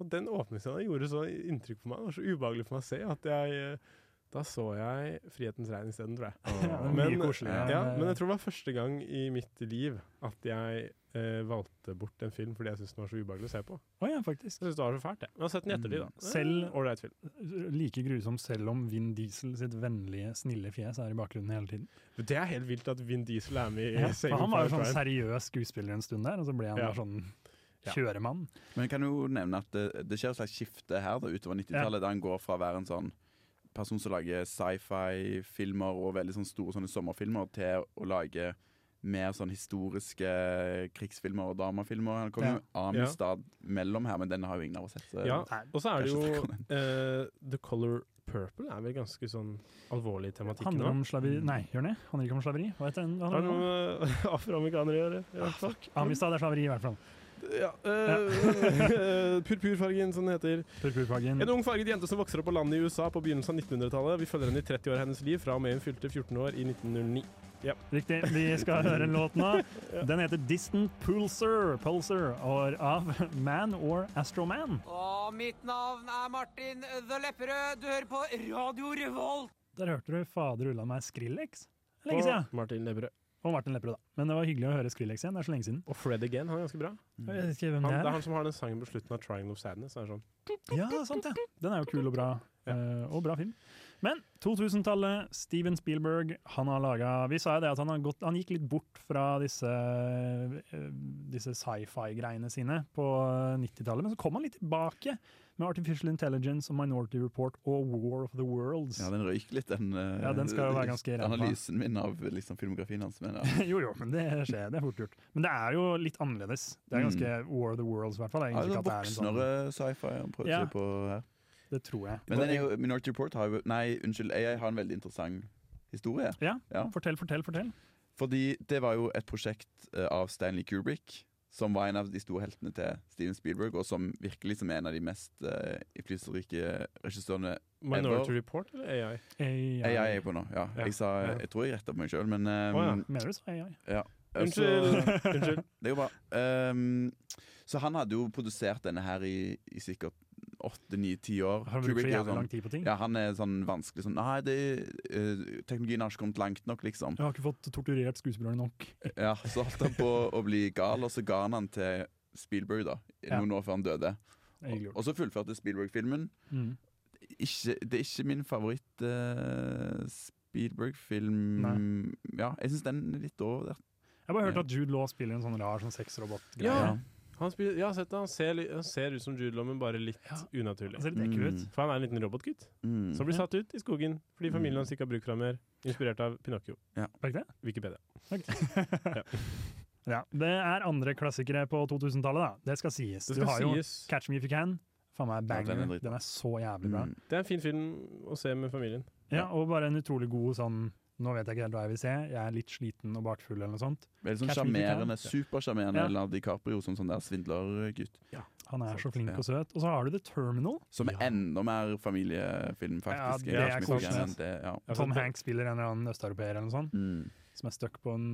Og den åpningsscenen gjorde så inntrykk på meg, det var så ubehagelig for meg å se, at jeg eh, Da så jeg Frihetens regn isteden, tror jeg. Ja, det er mye Men, koseligere. ja, enn, men eh, jeg tror det var første gang i mitt liv at jeg eh, valgte bort en film fordi jeg syntes den var så ubehagelig å se på. Å ja, faktisk. Jeg synes det var så fælt, jeg. Men jeg har sett den i ettertid, da. Selv- Eh, Ålreit film. Like grusom selv om Vin Diesel sitt vennlige, snille fjes er i bakgrunnen hele tiden. Men Det er helt vilt at Vin Diesel er med i Ja, for Saving han var jo sånn Private Ryan. seriøs skuespiller en stund der, og så ble han Ja. bare sånn Ja. kjøremann. Men jeg kan jo nevne at det, det skjer et slags skifte her da, utover 90-tallet, da han går fra å være en sånn person som lager sci-fi-filmer og veldig sånn store sånne sommerfilmer, til å lage mer sånn historiske krigsfilmer og dramafilmer. Han kom Ja. jo Amistad mellom her, men den har jo ingen av oss sett. så- Ja, og så er det Kanskje jo snakke om eh, The Color Purple er vel ganske sånn alvorlig tematikk Handler nå. om slaveri Nei, gjør den det? Handler ikke om slaveri? Hva heter den? Har Handler noe om? med afroamerikanere å gjøre? i hvert fall. Amistad er slaveri, i hvert fall. Ja, eh, Purpurfargen, som den heter. Purpurfargen. En ung farget jente som vokser opp på landet i USA på begynnelsen av 1900-tallet. Vi følger henne i 30 år av hennes liv, fra og med hun fylte 14 år i 1909. Riktig. Vi skal høre en låt nå. Den heter 'Distant Pulsar', Pulsar og av Man or Astroman. Og mitt navn er Martin The Lepperød. Du hører på Radio Revolt. Der hørte du fader ulla meg Skrillex. Lenge Og siden. Martin Lepperød. Og Martin Lepperød, da. Men det var hyggelig å høre Skrillex igjen. Det er så lenge siden. Og Fred Again, han er ganske bra. Mm. Jeg vet ikke hvem det Han, det er er. han som har den sangen på slutten av 'Triangle of Sadness'. som Er sånn. Ja, sant det. Den er jo kul og bra, eh, og bra film. Men 2000-tallet, Steven Spielberg, han har laget Vi sa jo det at han, har gått, han gikk litt bort fra disse, eh, disse sci-fi-greiene sine på 90-tallet, men så kom han litt tilbake med Artificial Intelligence og Minority Report og War of the Worlds. Ja, den røyk litt, den, eh, Ja, den skal jo være ganske ræva. analysen min av liksom, filmografien hans. Men, ja. jo, jo, men det skjer. Det er fort gjort. Men det er jo litt annerledes. Det er ganske War of the Worlds, i hvert fall. Det, er Mm. Ja, egentlig det ikke at det, er er en sånn- voksnere sci-fi han prøver Ja. seg på her. sånn, det tror jeg. Men den er jo, Minority Report har jo Nei, unnskyld, AI har en veldig interessant historie. Ja, Ja. fortell, fortell, fortell. Fordi det var jo et prosjekt eh, av Stanley Kubrick, som var en av de store heltene til Steven Spielberg, og som virkelig som er en av de mest eh, innflytelsesrike regissørene Minority Ever. Report eller AI? AI. AI er på nå. Ja, Ja, jeg, sa, ja. jeg tror jeg retta på meg sjøl, men eh, Å, ja. Mener du så AI? eh, Unnskyld! Så, Unnskyld. det er jo bra. Ehm, så han hadde jo produsert denne her i, i sikkert åtte, ni, ti år. Har du brukt Kubrick så er jo jævlig sånn- lang tid på ting? Ja, han er sånn vanskelig sånn Nei, det, eh, teknologien har ikke kommet langt nok, liksom. Jeg har ikke fått torturert skuespillerne nok. Ja, Så holdt han på å bli gal, og så ga han han til Spielberg da i Ja. noen år før han døde. Det er hyggelig gjort. Og så fullførte Spielberg filmen. Mm. Ikke, det er ikke min favoritt eh, Spielberg-film Ja, jeg syns den er litt overvurdert. Jeg har bare hørt Ja. at Jude Law spiller en sånn rar sånn sexrobot-greie. Ja. Han, spiller, ja, sett det. Han ser, li- han ser ut som Jude Law, men bare litt unaturlig. Han ser litt ekkel ut. Mm. For han er en liten robotgutt Mm. som blir satt ut i skogen fordi familien hans ikke har bruk for ham mer. Inspirert av Pinocchio. Var ikke det? Wikipedia. Ja. Det er andre klassikere på 2000-tallet, da. Det skal sies. Det du skal har jo sies. Catch Me If You Can. Faen meg Ja, den er banger. dritbra. den er så jævlig bra. Mm. Det er en fin film å se med familien. Ja, og bare en utrolig god sånn Nå vet jeg ikke helt hva jeg vil se, jeg er litt sliten og bakfull eller noe sånt. Veldig sånn Catch Me If You Can. sjarmerende, supersjarmerende Ja. Leonardo DiCaprio som sånn der svindlergutt. Han er så Sant, flink ja. og søt. Og så har du The Terminal. Som er enda mer familiefilm, faktisk. det er Catch Me If You koselig, Can, ass. det, ja. Ja, Tom for- Hanks spiller en eller annen østeuropeer eller noe sånt, Mm. som er stuck på en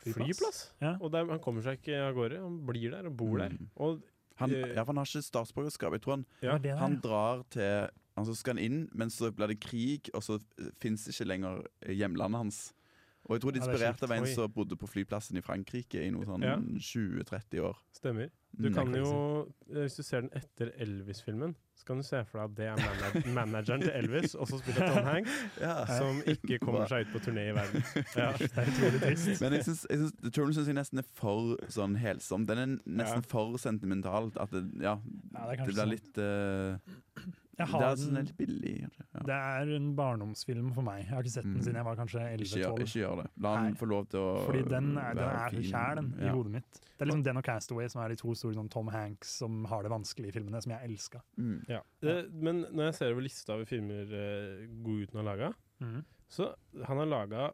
Flyplass. Ja. Og der, han kommer seg ikke av gårde. Han blir der og bor der. Mm. Og Han, Eh, ja, for han har ikke statsborgerskap. Jeg tror han, Ja, Hva er det der, han ja? drar til altså han så skal han inn, men så blir det krig, og så fins ikke lenger eh, hjemlandet hans. Og jeg tror de er Ja, det er inspirert av en sjukt. Oi. som bodde på flyplassen i Frankrike i noe sånn Ja. 20-30 år. Stemmer. Du Mm. kan jo, eh, Hvis du ser den etter Elvis-filmen, så kan du se for deg at det er mana- manageren til Elvis, og så spiller Tom Hanks, Ja. som ikke kommer seg ut på turné i verden. Ja. Det er sånn. utrolig trist. Men jeg syns, jeg syns, Turner syns jeg nesten er for sånn helsom. Den er nesten for sentimental. At det, ja, Ja, det er det, kanskje blir sant. litt eh, Jeg Det har er sånn den- litt billig. kanskje. Ja. Det er en barndomsfilm for meg. Jeg har ikke sett den Mm. siden jeg var kanskje Ikke, gjør, ikke 11-12. gjør det. La han få lov til å Fordi den er, den være er så fin. kjær, den, i Ja. hodet mitt. Det er liksom den og Castaway som er de to store sånn Tom Hanks som har det vanskelig i filmene, som jeg elska. Mm. Ja. Eh, men når jeg ser over lista over filmer uh, Godgutten har laga, Mm. Mhm. så han har laga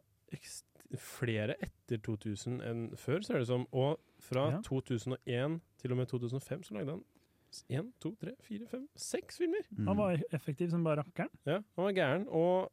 flere etter 2000 enn før, ser det ut som. Og fra Ja. 2001 til og med 2005 så lagde han én, to, tre, fire, fem, seks filmer! Mm. Han var effektiv som bare rakkeren. Ja, han var gæren. Og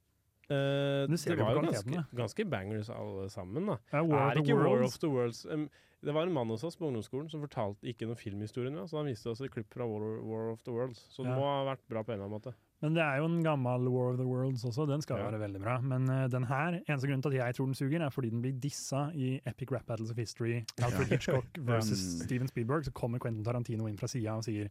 eh, Du ser det jo var på jo kvaliteten, ganske, ganske bangers alle sammen, da. Det er War er of the ikke War Worlds. of the Worlds em, Det var en mann hos oss på ungdomsskolen som fortalte ikke noen filmhistorie med, så han viste oss et klipp fra War, War of the Worlds. Så det Ja. må ha vært bra på en eller annen måte. Men det er jo en gammel War of the Worlds også, den skal jo Ja. være veldig bra. Men eh, den her, eneste grunnen til at jeg tror den suger, er fordi den blir dissa i Epic Rap Battles of History, Alfred Hitchcock versus Mm. Steven Spielberg, så kommer Quentin Tarantino inn fra sida og sier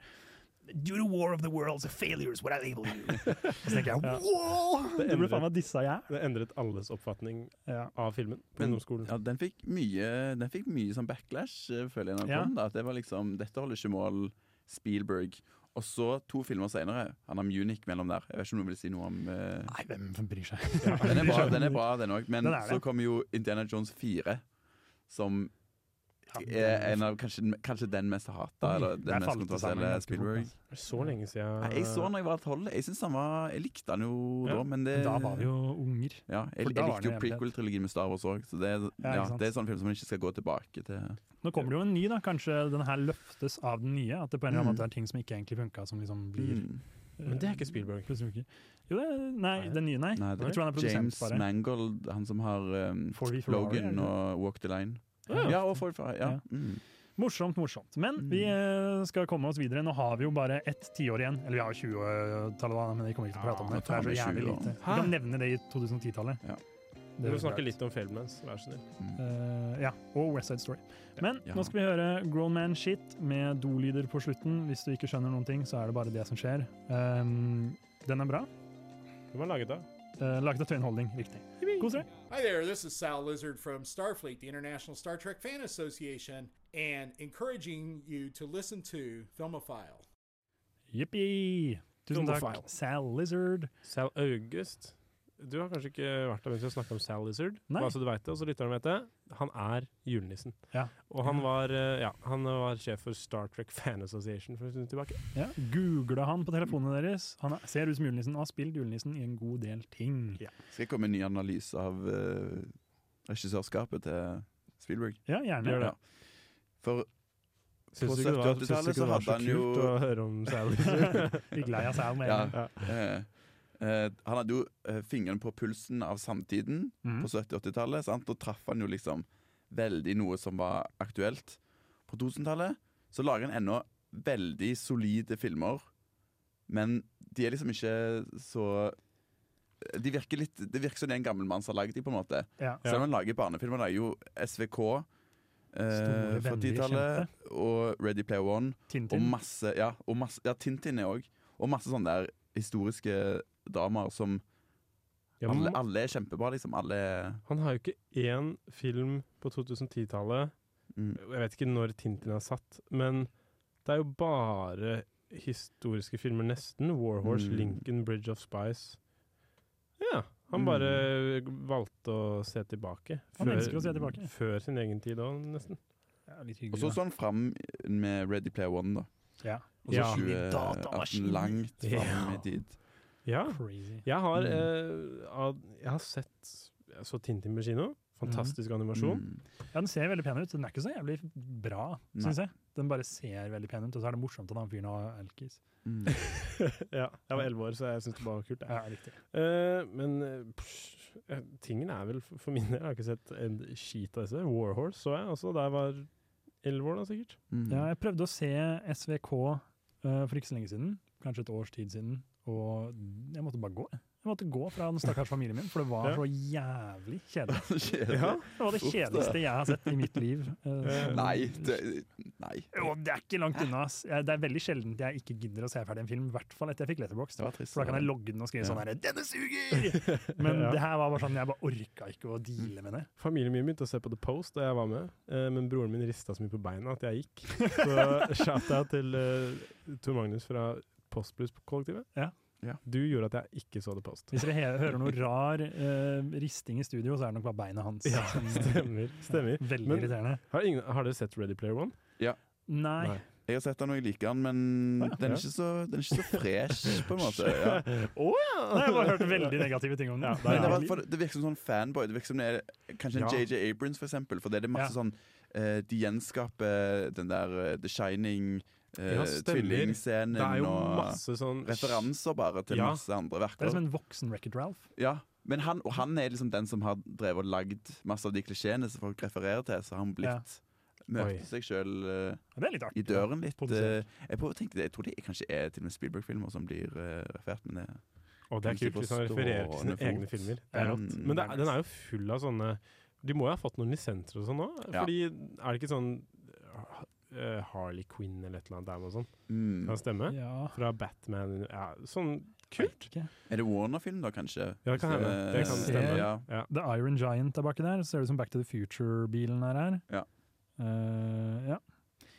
Due to War of the Worlds, a failure is what I label you. Og så tenker jeg, Ja. wow! Det Det ble endret. faen meg dissa jeg. Det endret alles oppfatning Ja. av filmen på Men- ungdomsskolen. Ja, den fikk mye, den fikk mye sånn backlash, eh, føler jeg, når den Ja. kom. Da. At det var liksom, Dette holder ikke mål, Spielberg. Og så, to filmer senere, han har Munich mellom der. Jeg vet ikke om du vil si noe om eh, Nei, hvem bryr seg? Den er bra, den er bra, den òg. Men Den er det. så kommer jo Indiana Jones 4, som Ja, er Eh, en av kanskje, kanskje den mest hata, eller der den mest falt det sammen kontroversielle ganske fort, Spielberg. altså. Det er Så lenge siden Nei, Jeg så den da jeg var tolv. Jeg synes han var, jeg likte han jo Ja, da, men det Da var vi jo unger. ja, jeg, for jeg da var likte det jo en hemmelighet. prequel-trilogien med Star Wars òg, så det, er- Ja, ikke ja, sant. det er sånn film som man ikke skal gå tilbake til. Nå kommer det jo en ny, da. Kanskje den her løftes av den nye? At det på en eller annen Mm. måte er ting som ikke egentlig funka, som liksom blir Mm. Men det er ikke Spielberg. Plutselig ikke. Jo, det, nei, Nei. den nye, nei. Nei, det jeg tror han er produsent James bare. Mangold, han som har um, Får vi Ferrari, Logan eller? og Walk the Line. Ja. Ja, og Ford Ferrari. Ja. Ja. Mm. Morsomt, morsomt. Men vi eh, skal komme oss videre. Nå har vi jo bare ett tiår igjen. Eller vi har jo 20-tallet, da, men vi kommer ikke til å prate om Ja, det. for Det er så faen, jævlig det er 20 år. lite. Vi Hæ? kan nevne det i 2010-tallet. Ja. Du er må snakke bra. litt om filmen hans, vær så snill. mm. Eh, ja, og West Side Story. Men Ja. nå skal vi høre Grown Man Shit med dolyder på slutten. Hvis du ikke skjønner noen ting, så er det bare det som skjer. Um, den er bra. Hvem har laget det? Eh, laget av Tøyen Holding, riktig. Kos dere. Hi there, this is Sal Lizard from Starfleet, the International Star Trek Fan Association, and encouraging you to listen to Filmophile. Jippi! Tusen takk, Filmofile. Sal Lizard. Sal August. Du har kanskje ikke vært der mens vi har snakket om Sal Lizard. Nei. Bare så du vet det, og så lytterne vet det. Han er julenissen. Ja. Og han var, eh, ja, han var sjef for Star Trek Fan Association for en stund tilbake. Ja. Googla han på telefonene deres. Han er- ser ut som julenissen og har spilt julenissen i en god del ting. Ja. Skal jeg komme med en ny analyse av eh, regissørskapet til Spielberg? Ja, gjerne. Ja. For Syns På du ikke det var, 70-tallet syns du så ikke det var hadde så han kult jo- å høre om Sal Lizard? Fikk lei av Sal med Ja. en gang. eh, eh, han hadde jo eh, fingeren på pulsen av samtiden Mhm. på 70-80-tallet. sant? Da traff han jo liksom veldig noe som var aktuelt. På 2000-tallet så lager han ennå veldig solide filmer, men de er liksom ikke så eh, de virker litt, Det virker som det er en gammel mann som har lagd dem, på en måte. Ja. Selv om han lager barnefilmer. Han lager jo SVK eh, Store fra venner, 10-tallet, og Ready Player One. Og Tintin. masse, ja, og masse, ja Tintin er òg. Og masse sånne der historiske dramaer som Ja, alle, men alle er kjempebra, liksom. Alle er- han har jo ikke én film på 2010-tallet mm. Jeg vet ikke når Tintin er satt, men det er jo bare historiske filmer, nesten. War Horse, Mm. Lincoln, Bridge of Spice. Ja. Han bare valgte å se tilbake. Han elsker å se tilbake. Før sin egen tid òg, nesten. Ja, litt Og så hyggelig. da. så han fram med Ready Player One, da. Ja. Og så Ja. 2018 langt fram i tid. Ja. Crazy. Jeg har, Mm. eh, ad- jeg har sett Jeg så Tintin på kino. Fantastisk animasjon. Mm. Ja, den ser veldig pen ut. Den er ikke så jævlig bra, Nei. syns jeg. Den bare ser veldig pen ut, og så er det morsomt at han fyren har alkis. Mm. ja, jeg var elleve år, så jeg syntes det bare var kult. jeg. Ja, riktig. Eh, men eh, pff, eh, tingen er vel for for min del Jeg har ikke sett en skit av disse. Warhorse så jeg også da jeg var elleve år, da sikkert. Mm. Ja, jeg prøvde å se SVK eh, for ikke så lenge siden, kanskje et års tid siden, og jeg måtte bare gå. jeg. Jeg måtte gå fra den stakkars familien min, for det var Ja. så jævlig kjedelig. Kjedelig. Ja, det var det Uff, kjedeligste jeg har sett i mitt liv. Eh, Nei, det, nei. Jo, det er ikke langt unna. ass. Jeg- Det er veldig sjelden jeg ikke gidder å se ferdig en film, i hvert fall etter jeg fikk Letterboxd. Det var trist, For da kan jeg ja. logge den og skrive Ja. sånn her Denne suger! Men Ja. det her var bare sånn, jeg bare orka ikke å deale med det. Familien min begynte å se på The Post da jeg var med, eh, men broren min rista så mye på beina at jeg gikk. Så shout-out til eh, Tor Magnus fra Postblues-kollektivet. Ja. Ja. Du gjorde at jeg ikke så The Post. Hvis dere he- hører noe rar eh, risting i studio, så er det nok bare beina hans. Ja, som- stemmer. stemmer. Veldig Men- irriterende. Har, ingen, har dere sett Ready Player One? Ja. Nei. Nei. Jeg har sett den og jeg liker den, men Ja. den er Ja. ikke så, den er ikke så fresh, på en måte. Ja. Å ja! Nei, jeg har bare hørt veldig negative ting om den. Ja, Men det det, er- var, for, det virker som sånn fanboy. Det virker som det er kanskje en Ja. JJ Abrams, for eksempel. For det er det masse Ja. sånn eh, De gjenskaper den der eh, The Shining, eh, Ja, stemmer. tvillingscenen Det er jo og masse sånn Referanser bare til Ja. masse andre Det er verker. som en voksen Wreck-It Ralph. Ja, men han, og han er liksom den som har drevet og lagd masse av de klisjeene som folk refererer til. Så han blitt Ja. Oi. møtte seg Ja, sjøl det er litt artig, i døren litt. produsert. eh, jeg, prøver, å tenke det, jeg tror det kanskje er til og med Spielberg-filmer som blir eh, referert, men det Og det er Ikke kult hvis han på refererer til sine stående fot. egne filmer. Det Ja. er rått. Men det, er- den er jo full av sånne De må jo ha fått noen lisenser og sånn nå? Ja. Fordi er det ikke sånn eh, Harley Quinn eller et eller annet der og sånn? mm. Kan stemme? Ja, Fra Batman ja, Sånn kult! ikke. Er det Warner-film, da, kanskje? Ja, det kan hende. Det kan Eh, stemme. Ja. Ja. The Iron Giant er baki der. Ser ut som Back to the Future-bilen er her. Ja. Eh, ja.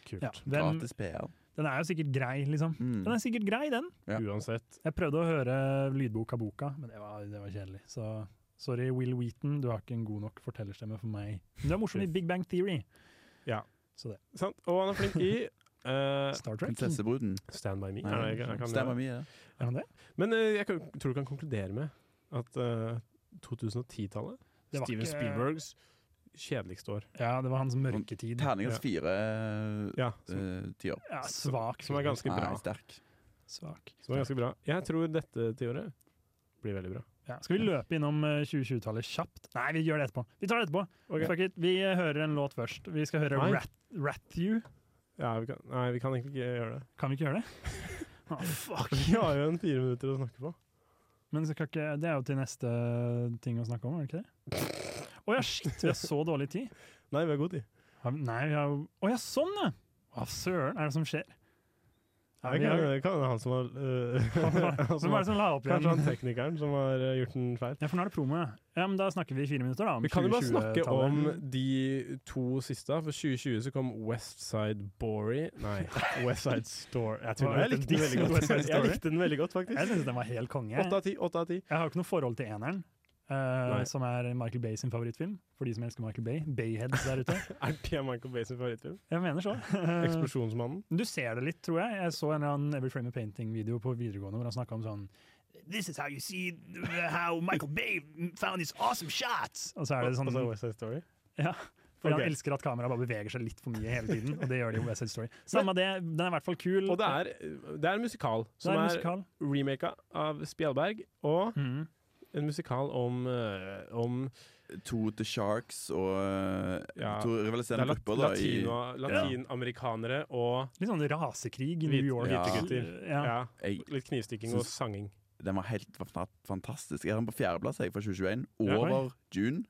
Kult. ja. Den, Gratis PR. den er jo sikkert grei, liksom. Mm. Den er sikkert grei, den. Ja. Uansett. Jeg prøvde å høre lydboka boka, men det var, det var kjedelig. Så sorry, Will Wheaton, du har ikke en god nok fortellerstemme for meg. Men du er morsom i Big Bang Theory. Ja. Så det. Sant? Og han er flink i eh, Star Trek. Er Prinsessebruden. Stand by me. Nei, Er det- jeg kan- Stemmer mye, det. han det? Men eh, jeg kan, tror du kan konkludere med at eh, 2010-tallet Det var Steven ikke- Spielbergs kjedeligste år. Ja, det var hans mørketid. Terningers Ja. fire Ja, eh, som, tiår. Ja, svak. som er ganske bra. Nei, sterk. Svak. Som er ganske bra. Jeg tror dette tiåret blir veldig bra. Ja. Skal vi løpe innom eh, 2020-tallet kjapt? Nei, vi gjør det etterpå. Vi tar det etterpå. Ok. Fuck it, vi eh, hører en låt først. Vi skal høre Nei. Rat Rathew. Ja, vi kan, nei, vi kan egentlig ikke gjøre det. Kan vi ikke gjøre det? Å, fuck. Vi har jo en fire minutter å snakke på. Men så kan ikke, det er jo til neste eh, ting å snakke om, er det ikke det? Å ja, shit! Vi har så dårlig tid. Nei, vi har god tid. Har vi- Nei, vi har jo Å ja, sånn ja! Hva søren er det som skjer? Ja, Det vi kan har- det kan være han som har øh, han som Hvem er det har- som la opp Kanskje han igjen? teknikeren som har øh, gjort en feil. Ja, for nå er det promo, ja. ja men da snakker vi i fire minutter, da. Om Vi kan jo bare snakke 2020-tallet. om de to siste. da. For 2020 så kom Westside Bory Nei, Westside Store. Jeg tuller. Jeg likte den veldig West Side godt. Story. Jeg likte den veldig godt, Jeg faktisk. syns den var helt konge. Åtte av ti. Åtte av ti. Jeg har jo ikke noe forhold til eneren, eh, Nei. som er Michael Bay sin favorittfilm. For de som elsker Michael Bay. Bayheads der ute. Er det Michael Bay sin favorittfilm? Jeg mener så. Eh, Eksplosjonsmannen? Du ser det litt, tror jeg. Jeg så en eller annen Every Frame a Painting-video på videregående hvor han snakka om sånn This is how you see how Michael Bay found these awesome shots! Og så er det sånn Altså West Side Story? Ja. Fordi Ok. han elsker at kameraet bare beveger seg litt for mye hele tiden. Og det gjør det jo i West Side Story. Samme det, den er i hvert fall kul. Og det er, det er en musikal Det er som en er, musikal. remaka av Spjelberg, og Mhm. en musikal om, øh, om To The Sharks og eh, Ja. to Det er rivaliserende lat grupper. da i, latino- latinamerikanere og Litt sånn rasekrig i Hvit- New York. hvite gutter. Ja. ja, jeg, litt knivstikking og sanging. Den var helt fant- fantastisk. Jeg har den på fjerdeplass jeg, for 2021. Ja, oi. Over June.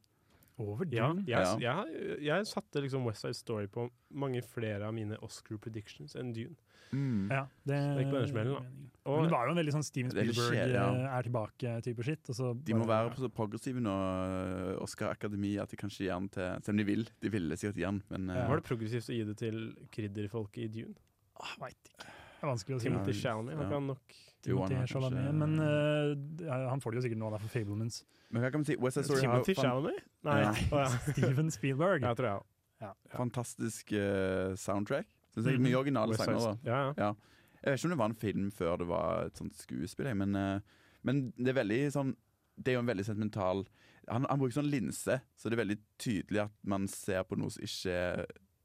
Over Ja, Dune. jeg, jeg, jeg satte liksom West Side Story på mange flere av mine Oscar predictions enn Dune. Mm. Ja, det, gikk på den smellen, da. Men Og det var jo en veldig sånn Steven Det er litt Spielberg skjer, ja. eh, er tilbake-type shit. Og så De må bare- være så progressive nå, eh, Oscar Akademi, at de kanskje gir den til Selv om de vil, de ville sikkert gi den, men eh, var det progressivt å gi det til krydderfolket i Dune? Ah, vet ikke. Det er vanskelig å si. Timothy Ja, Shalmy, har ja. ikke han nok jo, han Timothy har Chalamet, kanskje- Men eh, ja, han får det jo sikkert nå, da, for Fablemans. Men hva kan man si? West Side Story har Timothy jo fan- Shalmy? Nei. Ja. Å, ja. Steven Spielberg. Jeg tror jeg også. fantastisk eh, soundtrack. Synes jeg Mhm. Mye originale West Side sanger. da. Story. Ja, ja. Jeg vet ikke om det var en film før det var et sånt skuespill, jeg, men, eh, men det er veldig sånn Det er jo en veldig sentimental han, han bruker sånn linse, så det er veldig tydelig at man ser på noe som ikke er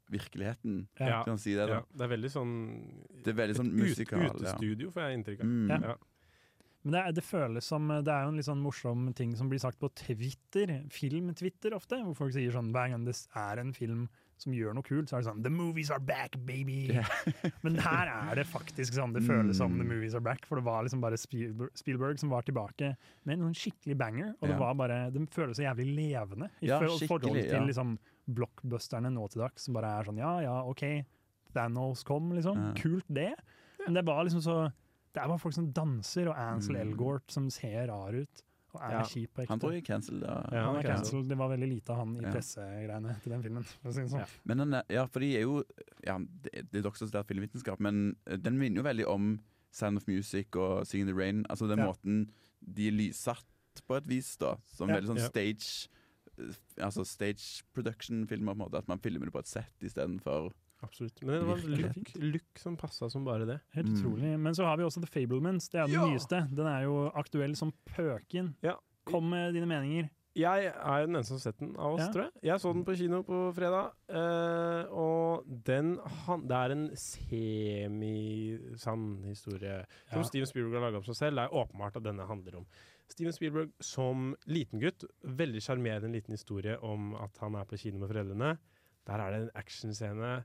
virkeligheten. Ja. Kan man si det, da? Ja, det er veldig sånn Det er veldig sånn et ut- musikal. ja. Utestudio, får jeg inntrykk av. Mm. Ja. Men det, er, det føles som Det er jo en litt sånn morsom ting som blir sagt på Twitter, film-Twitter ofte, hvor folk sier sånn hver gang det er en film som gjør noe kult, så er det sånn The movies are back, baby! Men her er det faktisk sånn det føles Mm. som The movies are back, for det var liksom bare Spielberg, Spielberg som var tilbake med en sånn skikkelig banger, og det Ja. var bare Den føles så jævlig levende i Ja, for- forhold skikkelig, til ja. liksom blockbusterne nå til dags, som bare er sånn ja, ja, OK, Thanos kom, liksom. Ja. Kult, det. Men det er bare liksom så Det er bare folk som danser, og Ansel Mm. Elgort som ser rar ut. Og er Ja. kjip på ekte. Han tror jeg er cancelled, da. Ja, han Han er er cancelled. Det var veldig lite av han i Ja. pressegreiene til den filmen. For å si det sånn. Men den, er- ja, for de er jo ja, Det det er dere som studerer filmvitenskap, men eh, den minner jo veldig om Sound of Music og Sing in the Rain. Altså den Ja. måten de er lyssatt på et vis, da. Som Ja. veldig sånn Ja. stage eh, Altså stage production-filmer, på en måte. At man filmer det på et sett istedenfor Absolutt. Men det var Virkelig look, look som passa som bare Mm. det. Helt utrolig. Men så har vi også The Fablements. Det er den nyeste. Den er jo aktuell som pøken. Kom med dine meninger. Jeg er jo den eneste som har sett den av oss, Ja. tror jeg. Jeg så den på kino på fredag, eh, og den han, Det er en semisann historie som Ja. Steven Spielberg har laga om seg selv. Det er åpenbart at denne handler om Steven Spielberg som liten gutt. Veldig sjarmerende liten historie om at han er på kino med foreldrene. Der er det en actionscene.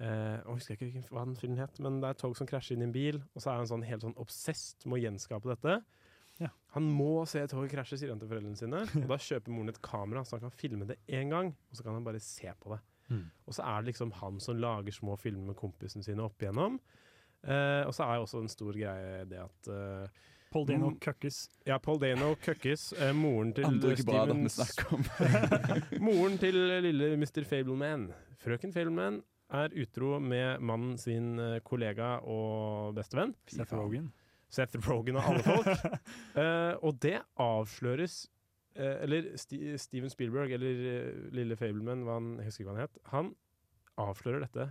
Eh, jeg husker ikke hvilken, hva den filmen het, men det er et tog som krasjer inn i en bil, og så er han sånn, helt sånn obsesst med å gjenskape dette. Han må se toget krasje, sier han til foreldrene sine. Og da kjøper moren et kamera, så han kan filme det én gang, og så kan han bare se på det. Hmm. Mm. Og så er det liksom han som lager små filmer med kompisene sine opp igjennom. Eh, og så er jo også en stor greie det at eh, Paul Dano Mm. køkkes. Ja, Paul Dano køkkes. Eh, moren til Han dør ikke bra, da, Stevens- men snakk Moren til lille Mr. Fableman, frøken Fableman, er utro med mannen sin eh, kollega og bestevenn. Seth Rogen. Seth Rogen og alle folk. Eh, og det avsløres eh, Eller Sti Steven Spielberg, eller eh, lille Fableman, hva han, jeg husker ikke hva han het, han avslører dette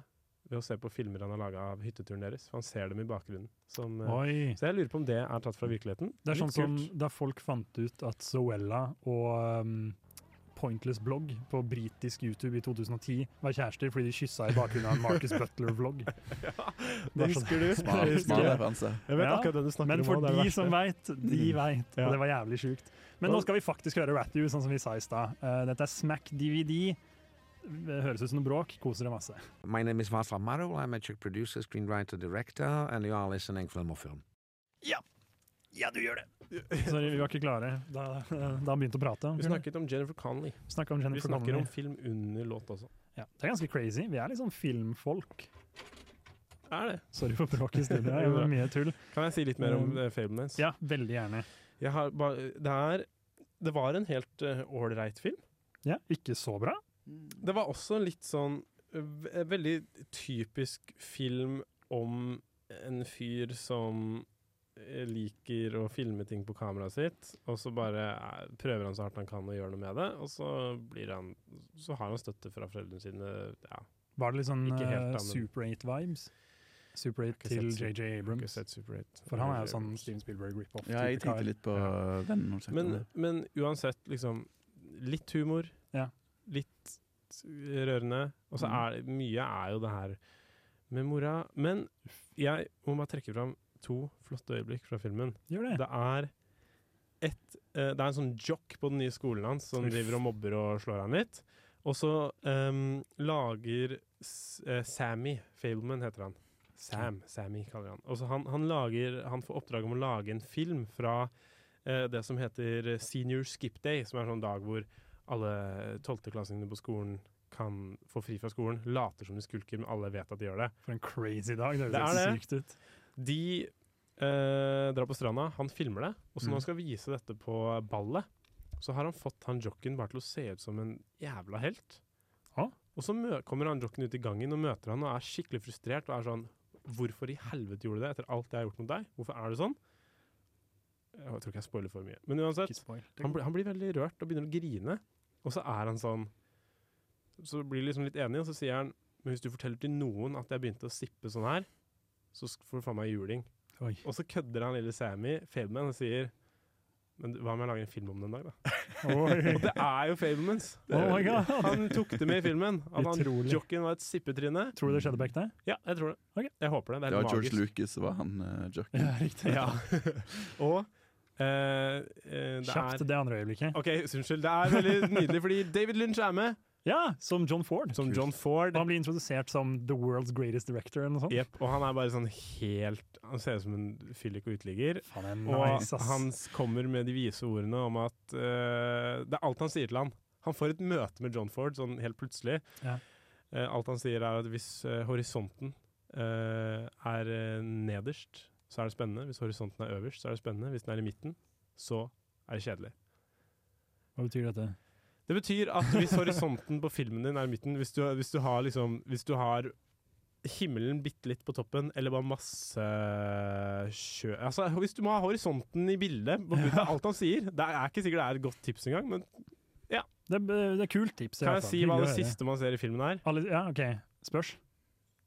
ved å se på filmer han har laga av hytteturen deres. For han ser dem i bakgrunnen. Som, eh, Oi. så jeg lurer på om det er tatt fra virkeligheten. Det er Litt sånn som kult. da folk fant ut at Zoella og um, Pointless Blog på britisk YouTube i 2010 var kjærester fordi de kyssa i bakgrunnen av en Marcus Butler-vlogg. det sånn husker du. Smal- Det husker smal jeg. referanse. Jeg vet akkurat hvem du snakker men Men om, og det er for det de som veit, verste. Mm. de veit. Ja. Og det var jævlig sjukt. Men nå skal vi faktisk høre Rat You, sånn som vi sa i stad. Eh, dette er Smack DVD. Det høres ut som noe bråk. Koser deg masse. My name is Václav Marou. I'm a Czech producer, screenwriter, director, and you are listening Filmofilm. Ja, du gjør det! Sorry, vi var ikke klare da, da han begynte å prate. Vi snakket om Jennifer Connelly. Vi snakker om Jennifer Vi snakker Connelly. om film under låt også. Ja, det er ganske crazy. Vi er litt sånn filmfolk. Er det? Sorry for bråket i studio. her, Det var mye tull. Kan jeg si litt mer om Um, eh, Fablemans? Ja, veldig gjerne. Jeg har ba, det, er, det var en helt ålreit film. Ja, ikke så bra. Det var også en litt sånn eh, ve- eh, veldig typisk film om en fyr som eh, liker å filme ting på kameraet sitt, og så bare eh, prøver han så hardt han kan å gjøre noe med det, og så, blir han, så har han støtte fra foreldrene sine. Ja. Var det litt sånn Ikke helt, eh, da, men- Super 8-vibes? Super 8 Jeg har til ikke JJ sett Super- jeg har ikke Abrams. sett Super 8. For han er jo Eller- sånn Steven Spielberg rip-off. Ja, jeg type kar. tenkte litt på vennen når du snakket om Men, det. men uansett, liksom Litt humor, Ja. litt rørende. Og så Mm. er det- mye er jo det her med mora. Men jeg må bare trekke fram to flotte øyeblikk fra filmen. Gjør det. er et, eh, det er en sånn jock på den nye skolen hans som Uff. driver og mobber og slår han litt. Og så ehm, lager S eh, Sammy Fableman heter han. Sam, Sammy kaller han. Og så han, han, lager, han får oppdrag om å lage en film fra eh, det som heter Senior Skip Day, som er en sånn dag hvor alle tolvteklassingene på skolen kan få fri fra skolen, later som de skulker, men alle vet at de gjør det. For en crazy dag. Det Det høres er helt sykt ut. De eh, drar på stranda, han filmer det, og så når Mm. han skal vise dette på ballet, så har han fått han jocken bare til å se ut som en jævla helt. Og så mø kommer han jocken ut i gangen og møter han og er skikkelig frustrert og er sånn Hvorfor i helvete gjorde du det etter alt jeg har gjort mot deg? Hvorfor er du sånn? Jeg tror ikke jeg spoiler for mye. Men uansett, han, blir- han blir veldig rørt og begynner å grine. Og så er han sånn Så blir de liksom litt enige, og så sier han Men hvis du forteller til noen at jeg begynte å sippe sånn her, så sk- får du faen meg juling. Oi. Og så kødder han lille Sammy Feldman og sier Men hva om jeg lager en film om det en dag, da? Oi. Og det er jo Fablemans! Oh my God. Han tok det med i filmen. At han Utrolig. jocken var et sippetryne. Tror du det skjedde på ekte? Ja, jeg tror det. Jeg håper det. Det Det var er helt George magisk. Lucas, var han uh, jocken. Ja, riktig. Ja. Og eh, eh, det Kjapt er det andre øyeblikket. Ok, unnskyld. Det er veldig nydelig, fordi David Lynch er med. Ja, som John Ford. Som John Ford. Og Han blir introdusert som the world's greatest director eller noe sånt. Jep, og han er bare sånn helt Han ser ut som en fyllik og uteligger. Han er Og nice, ass. han s- kommer med de vise ordene om at eh, Det er alt han sier til han. Han får et møte med John Ford sånn helt plutselig. Ja. Eh, alt han sier er at hvis eh, horisonten eh, er eh, nederst, så er det spennende. Hvis horisonten er øverst, så er det spennende. Hvis den er i midten, så er det kjedelig. Hva betyr dette? Det betyr at hvis horisonten på filmen din er i midten, hvis du, hvis du har liksom Hvis du har himmelen bitte litt på toppen, eller bare masse sjø Altså, hvis du må ha horisonten i bildet på bunnen av alt han sier Det er ikke sikkert det er et godt tips engang, men Det er, det er kult tips. i kan hvert jeg fall. si hva Hyggelig det å høre. siste man ser i filmen er? Alle, ja, ok. Spørs.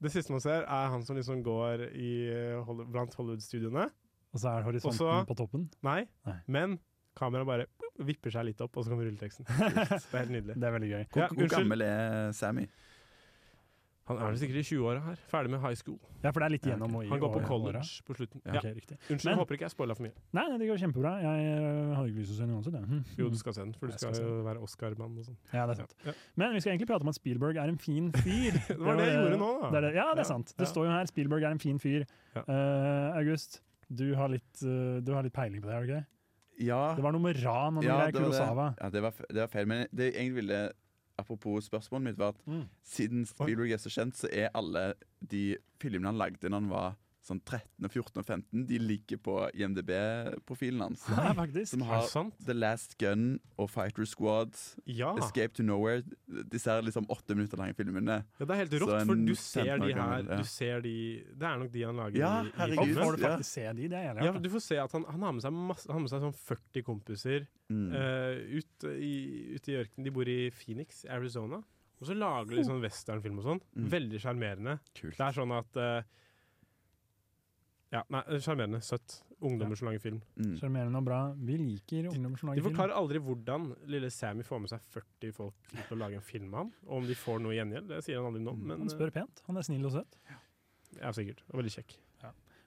Det siste man ser, er han som liksom går i, eh, Holly- blant Hollywood-studioene. Og så er horisonten Også- på toppen. Nei, Nei. men kameraet bare vipper seg litt opp, og så kommer rulleteksten. Det er helt nydelig. Det er veldig gøy. Hvor, Ja, hvor unnskyld. gammel er Sammy? Han er vel sikkert i 20-åra her. Ferdig med high school. Ja, for det er litt gjennom og i Han går på åra- college åra. på slutten. Ja, Ja. ok, riktig. Unnskyld, Men- jeg håper ikke jeg spoila for mye. Nei, nei, det går kjempebra. Jeg øh, hadde ikke lyst til å se den uansett. jeg. Hm. Jo, du skal se den, for du Jeg skal skal se jo være Oscar-mann og sånn. Ja, det er sant. Ja. Men vi skal egentlig prate om at Spielberg er en fin fyr. Det var det jeg gjorde nå, da. Det er det. Ja, det Ja, er sant. ja. Det står jo her Spielberg er en fin fyr. Ja. Eh, August, du har, litt, eh, du har litt peiling på det, har du ikke det? Ja, Det var noe med ran og noe ja, greier. det, var Kurosawa. det. Ja, det, var, f- det var feil. Men det jeg egentlig ville, apropos spørsmålet mitt, var at Mm. siden Spielberg er så kjent, så er alle de filmene han lagde da han var sånn 13, 14 og 15, de ligger på IMDb-profilen hans. Ja, faktisk. Som Er har det sant? Ah. The Last Gun og Fighter Squad, Ja. Escape to Nowhere, disse her liksom åtte minutter lange filmene. ja, det er helt Så rått, en for du ser 15 år de her gammel, ja. du ser de, Det er nok de han lager Ja, i, i herregud. Og filmen. får du Ja. faktisk se de, det er jeg enig i. Ja, du får se at han, han har med seg, masse, han har med seg sånn 40 kompiser Mm. eh, ut, i, ut i ørkenen. De bor i Phoenix, Arizona. Og så lager Oh. de sånn westernfilm og sånn. Mm. Veldig sjarmerende. Kult. Det er sånn at eh, Ja, nei, sjarmerende. Søtt. Ungdommer som lager film. Mm. Sjarmerende og bra. Vi liker ungdommer som De lager film. forklarer aldri hvordan lille Sammy får med seg 40 folk til å lage en film av ham. Og om de får noe gjengjeld. Det sier han aldri nå, men Mm, Han spør pent. Han er snill og søt. eh, ja, sikkert. Og veldig kjekk.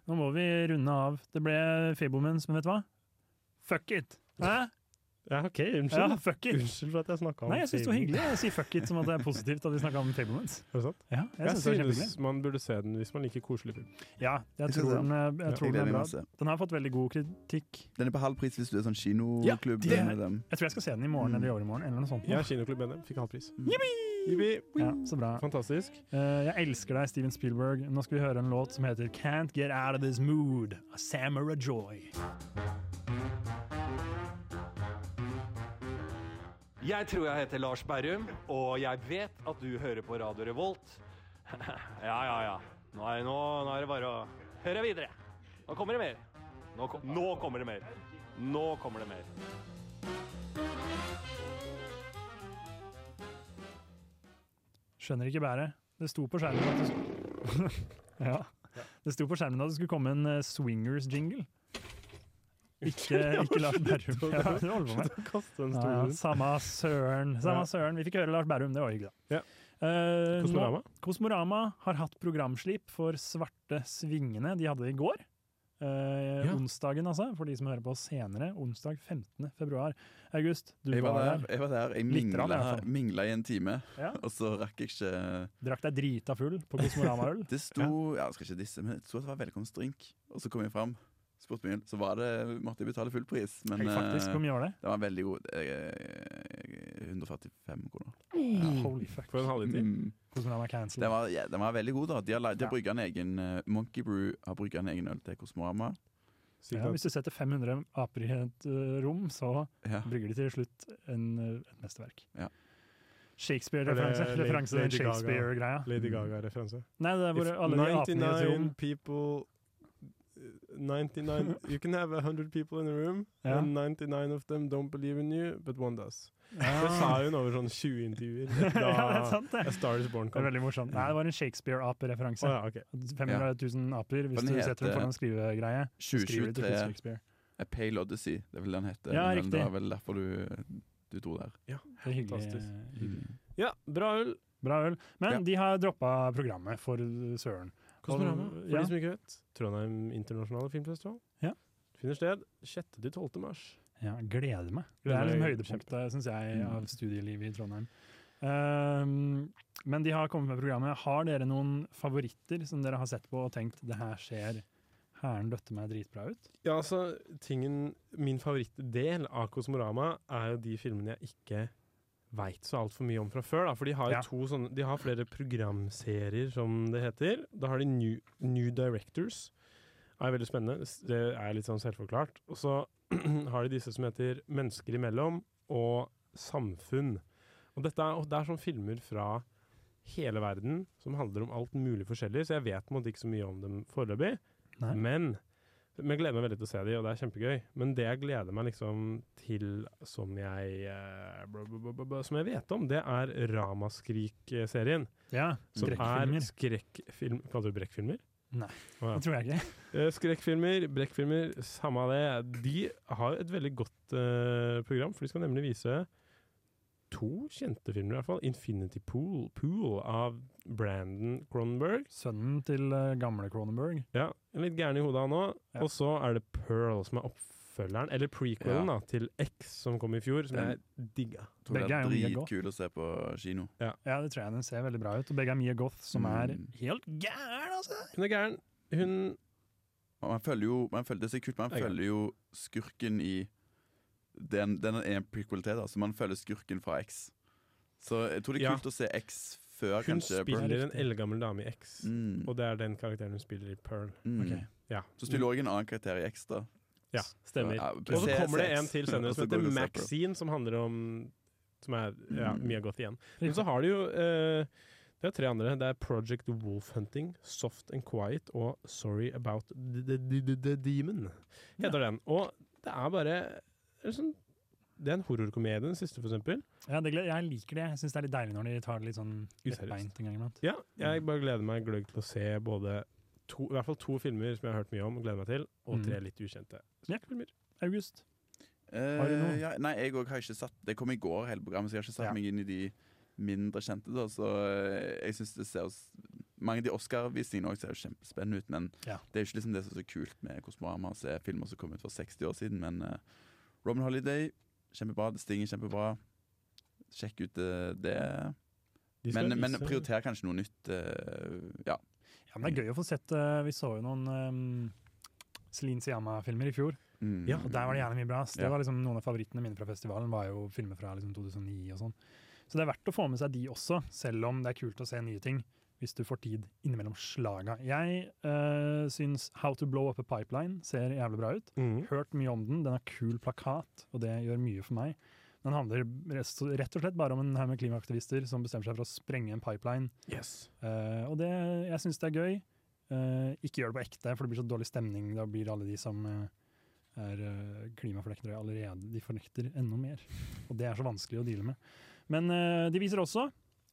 Nå må vi runde av. Det ble Fablemans, men vet du hva? Fuck it! Hæ? Ja, OK, Ja, unnskyld. fuck it! Unnskyld for at jeg snakka om Nei, jeg syns det var filmen. hyggelig. Jeg sier fuck it som at det er positivt at vi snakka om Fablemans. Er det sant? Ja, jeg Jeg synes det var synes kjempehyggelig. man burde se den hvis man liker koselig film. Ja, jeg Jeg synes tror det. den, eh, jeg, Ja. tror Jeg den gleder er meg bra. masse. Den har fått veldig god kritikk. Den er på halv pris hvis du er sånn Ja, kinoklubb. det- med dem. Jeg tror jeg skal se den i morgen Mm. eller i overmorgen eller noe sånt. Jeg er kinoklubb NM, fikk halvpris. Mm. Ja, så bra. Fantastisk. Eh, jeg elsker deg, Steven Spielberg. Nå skal vi høre en låt som heter Can't Get Out of This Mood av Samara Joy. Jeg tror jeg heter Lars Berrum, og jeg vet at du hører på Radio Revolt. Ja, ja, ja. Nå er, nå, nå er det bare å høre videre. Nå kommer det mer. Nå, kom, nå kommer det mer. Nå kommer det mer. Skjønner ikke bæret. Det sto på skjermen at det skulle Ja. Det sto på skjermen at det skulle komme en eh, swingers-jingle. Ikke, ikke Lars Berrum. Ja, det holder på med. Kaste den Ja, store samme søren. Samme Ja. søren. Vi fikk høre Lars Berrum, det var hyggelig. da. Ja. Eh, Kosmorama? nå- Kosmorama har hatt programslip for Svarte svingene. De hadde det i går. Eh, Ja. Onsdagen, altså, for de som hører på oss senere. Onsdag 15. februar. August, du Jeg var, var der, der. jeg, var der. jeg Litt rann, i hvert mingla, fall. mingla i en time, Ja. og så rakk jeg ikke Drakk deg drita full på Kosmorama-øl. Det sto ja, jeg skal ikke disse, men det sto at det var velkomstdrink. Og så kom jeg fram, spurte meg, så var det, måtte jeg betale full pris. Men Hey, faktisk, eh, hvor mye var det? den var veldig god. Eh, 145 kroner. Ja, holy fuck. for en halvliter. Mm. Kosmorama er Den, cancelled. var, ja, den var veldig god, da. De har, la- de har Ja. brygget en egen eh, Monkey Brew har brygga en egen øl til Kosmorama. Sykt Ja, at- hvis du setter 500 aper i et eh, rom, så Ja. brygger de til slutt en, eh, et mesterverk. Ja. Shakespeare-referanse. Er det Referanse til Lady Gaga? Shakespeare-greia. Lady Gaga-referanse. Nei, det er hvor If alle de apene i et rom 99 people 99 You can have 100 people in a room, Ja. and 99 of them don't believe in you, but one does. Det sa Ah. hun over sånn 20 intervjuer Ja, det er da sant, det. A Star Is Born Det er kom. veldig morsomt. Nei, det var en Shakespeare-ape-referanse. Å ja, ok. 500 000 aper, hvis Den du setter heter den foran en skrivegreie. så skriver du til 2023. Shakespeare. A Pale Odyssey, det er vel den heter. Ja, men riktig. Det var vel derfor du, du dro der. Ja, Det er hyggelig. fantastisk. hyggelig. Ja, bra øl. Bra øl. Men de har droppa programmet, for søren. Kosmorama, Og- for Ja. de som ikke vet. Trondheim internasjonale filmfestival. Ja. Finner sted 6.-12. mars. ja, gleder meg. Det Gleder er liksom meg høydepunktet, syns jeg, Mm. av studielivet i Trondheim. Ehm, men de har kommet med programmet. Har dere noen favoritter som dere har sett på og tenkt det her ser Hæren døtte meg dritbra ut? Ja, altså, tingen, Min favorittdel av Kosmorama er jo de filmene jeg ikke veit så altfor mye om fra før. Da. For de har, jo Ja. to sånne, de har flere programserier, som det heter. Da har de New, new Directors. Det er veldig spennende. Det er litt sånn selvforklart. Og så har de disse som heter Mennesker imellom og Samfunn. Og dette er, og det er sånne filmer fra hele verden som handler om alt mulig forskjellig, så jeg vet på en måte ikke så mye om dem foreløpig. Nei. Men men jeg gleder meg veldig til å se de, og det er kjempegøy. Men det jeg gleder meg liksom til som jeg eh, bla, bla, bla, bla, bla, Som jeg vet om, det er Ramaskrik-serien. Ja, Som skrekkfilmer. er skrekkfilm... Kaller du brekkfilmer? Nei, Å, ja. det tror jeg ikke. Eh, Skrekkfilmer, brekkfilmer, samme av det. De har et veldig godt eh, program, for de skal nemlig vise to kjente filmer, i hvert fall. 'Infinity Pool', Pool av Brandon Cronenberg. Sønnen til eh, gamle Cronenberg. Ja, en litt gæren i hodet han òg. Ja. Og så er det Pearl som er oppfølgeren, eller prequelen, Ja. da, til X som kom i fjor, som Den- jeg digga. Tror Begge det er er jo mye godt. dritkul å se på kino. Ja, det tror jeg den ser veldig bra ut. Og begge er Mia Goth, som er Mm. helt gæren, altså! Hun er gæren. Hun Man, man følger jo man følger, Det er så kult, man Ja, ja. følger jo skurken i Den, den er en prequel til, da, så man følger skurken fra X. Så jeg tror det er Ja. kult å se X før, Hun kanskje. spiller en Riktig. eldgammel dame i X, Mm. og det er den karakteren hun spiller i Pearl. Mm. Ok. Ja. Så spiller hun òg en annen karakter i X, da. Ja, stemmer. Ja, Og så se- kommer det se en X, til senere og så som heter går du og ser på det. Maxine, som handler om Som er ja, Mm. mye godt igjen. Men så har de jo eh, Det er tre andre. Det er Project Wolf Hunting, Soft and Quiet og Sorry About The, the, the, the, the Demon. Heter den. Og det er bare det er sånn, Det er en horrorkomedie, den siste, for eksempel. Ja, det, gled- jeg liker det. Jeg syns det er litt deilig når de tar det litt sånn Useriøst. lettbeint en gang iblant. Ja, jeg bare gleder meg gløgg til å se både to, i hvert fall to filmer som jeg har hørt mye om og gleder meg til, og Mm. tre litt ukjente. Filmer. August. Eh, Har du noe? Ja, nei, jeg òg har ikke satt Det kom i går, hele programmet, så jeg har ikke satt Ja. meg inn i de mindre kjente. Da, så eh, jeg synes det ser oss- Mange av de Oscar-visningene også ser jo kjempespennende ut, men Ja. det er jo ikke liksom det som er så kult med Kosmorama å se filmer som kom ut for 60 år siden. Men eh, Robin Holiday, kjempebra. The Sting er kjempebra. Sjekk ut eh, det. De skal Men, men vise- prioriter kanskje noe nytt. eh, ja. Ja, men det er gøy å få sett eh, Vi så jo noen um, Celine Siyama-filmer i fjor. Mm. Og der var det gjerne mye bra. ass. Det Ja. var liksom Noen av favorittene mine fra festivalen var jo filmer fra liksom 2009 og sånn. Så det er verdt å få med seg de også, selv om det er kult å se nye ting. Hvis du får tid innimellom slaga. Jeg uh, syns How to Blow Up a Pipeline ser jævlig bra ut. Mhm. Hørt mye om den. Den har kul plakat, og det gjør mye for meg. Den handler rest- rett og slett bare om en haug med klimaaktivister som bestemmer seg for å sprenge en pipeline. Yes. Eh, og det, jeg syns det er gøy. Eh, ikke gjør det på ekte, for det blir så dårlig stemning. Da blir alle de som eh, er eh, klimafornektere allerede De fornekter enda mer. Og det er så vanskelig å deale med. Men eh, de viser også,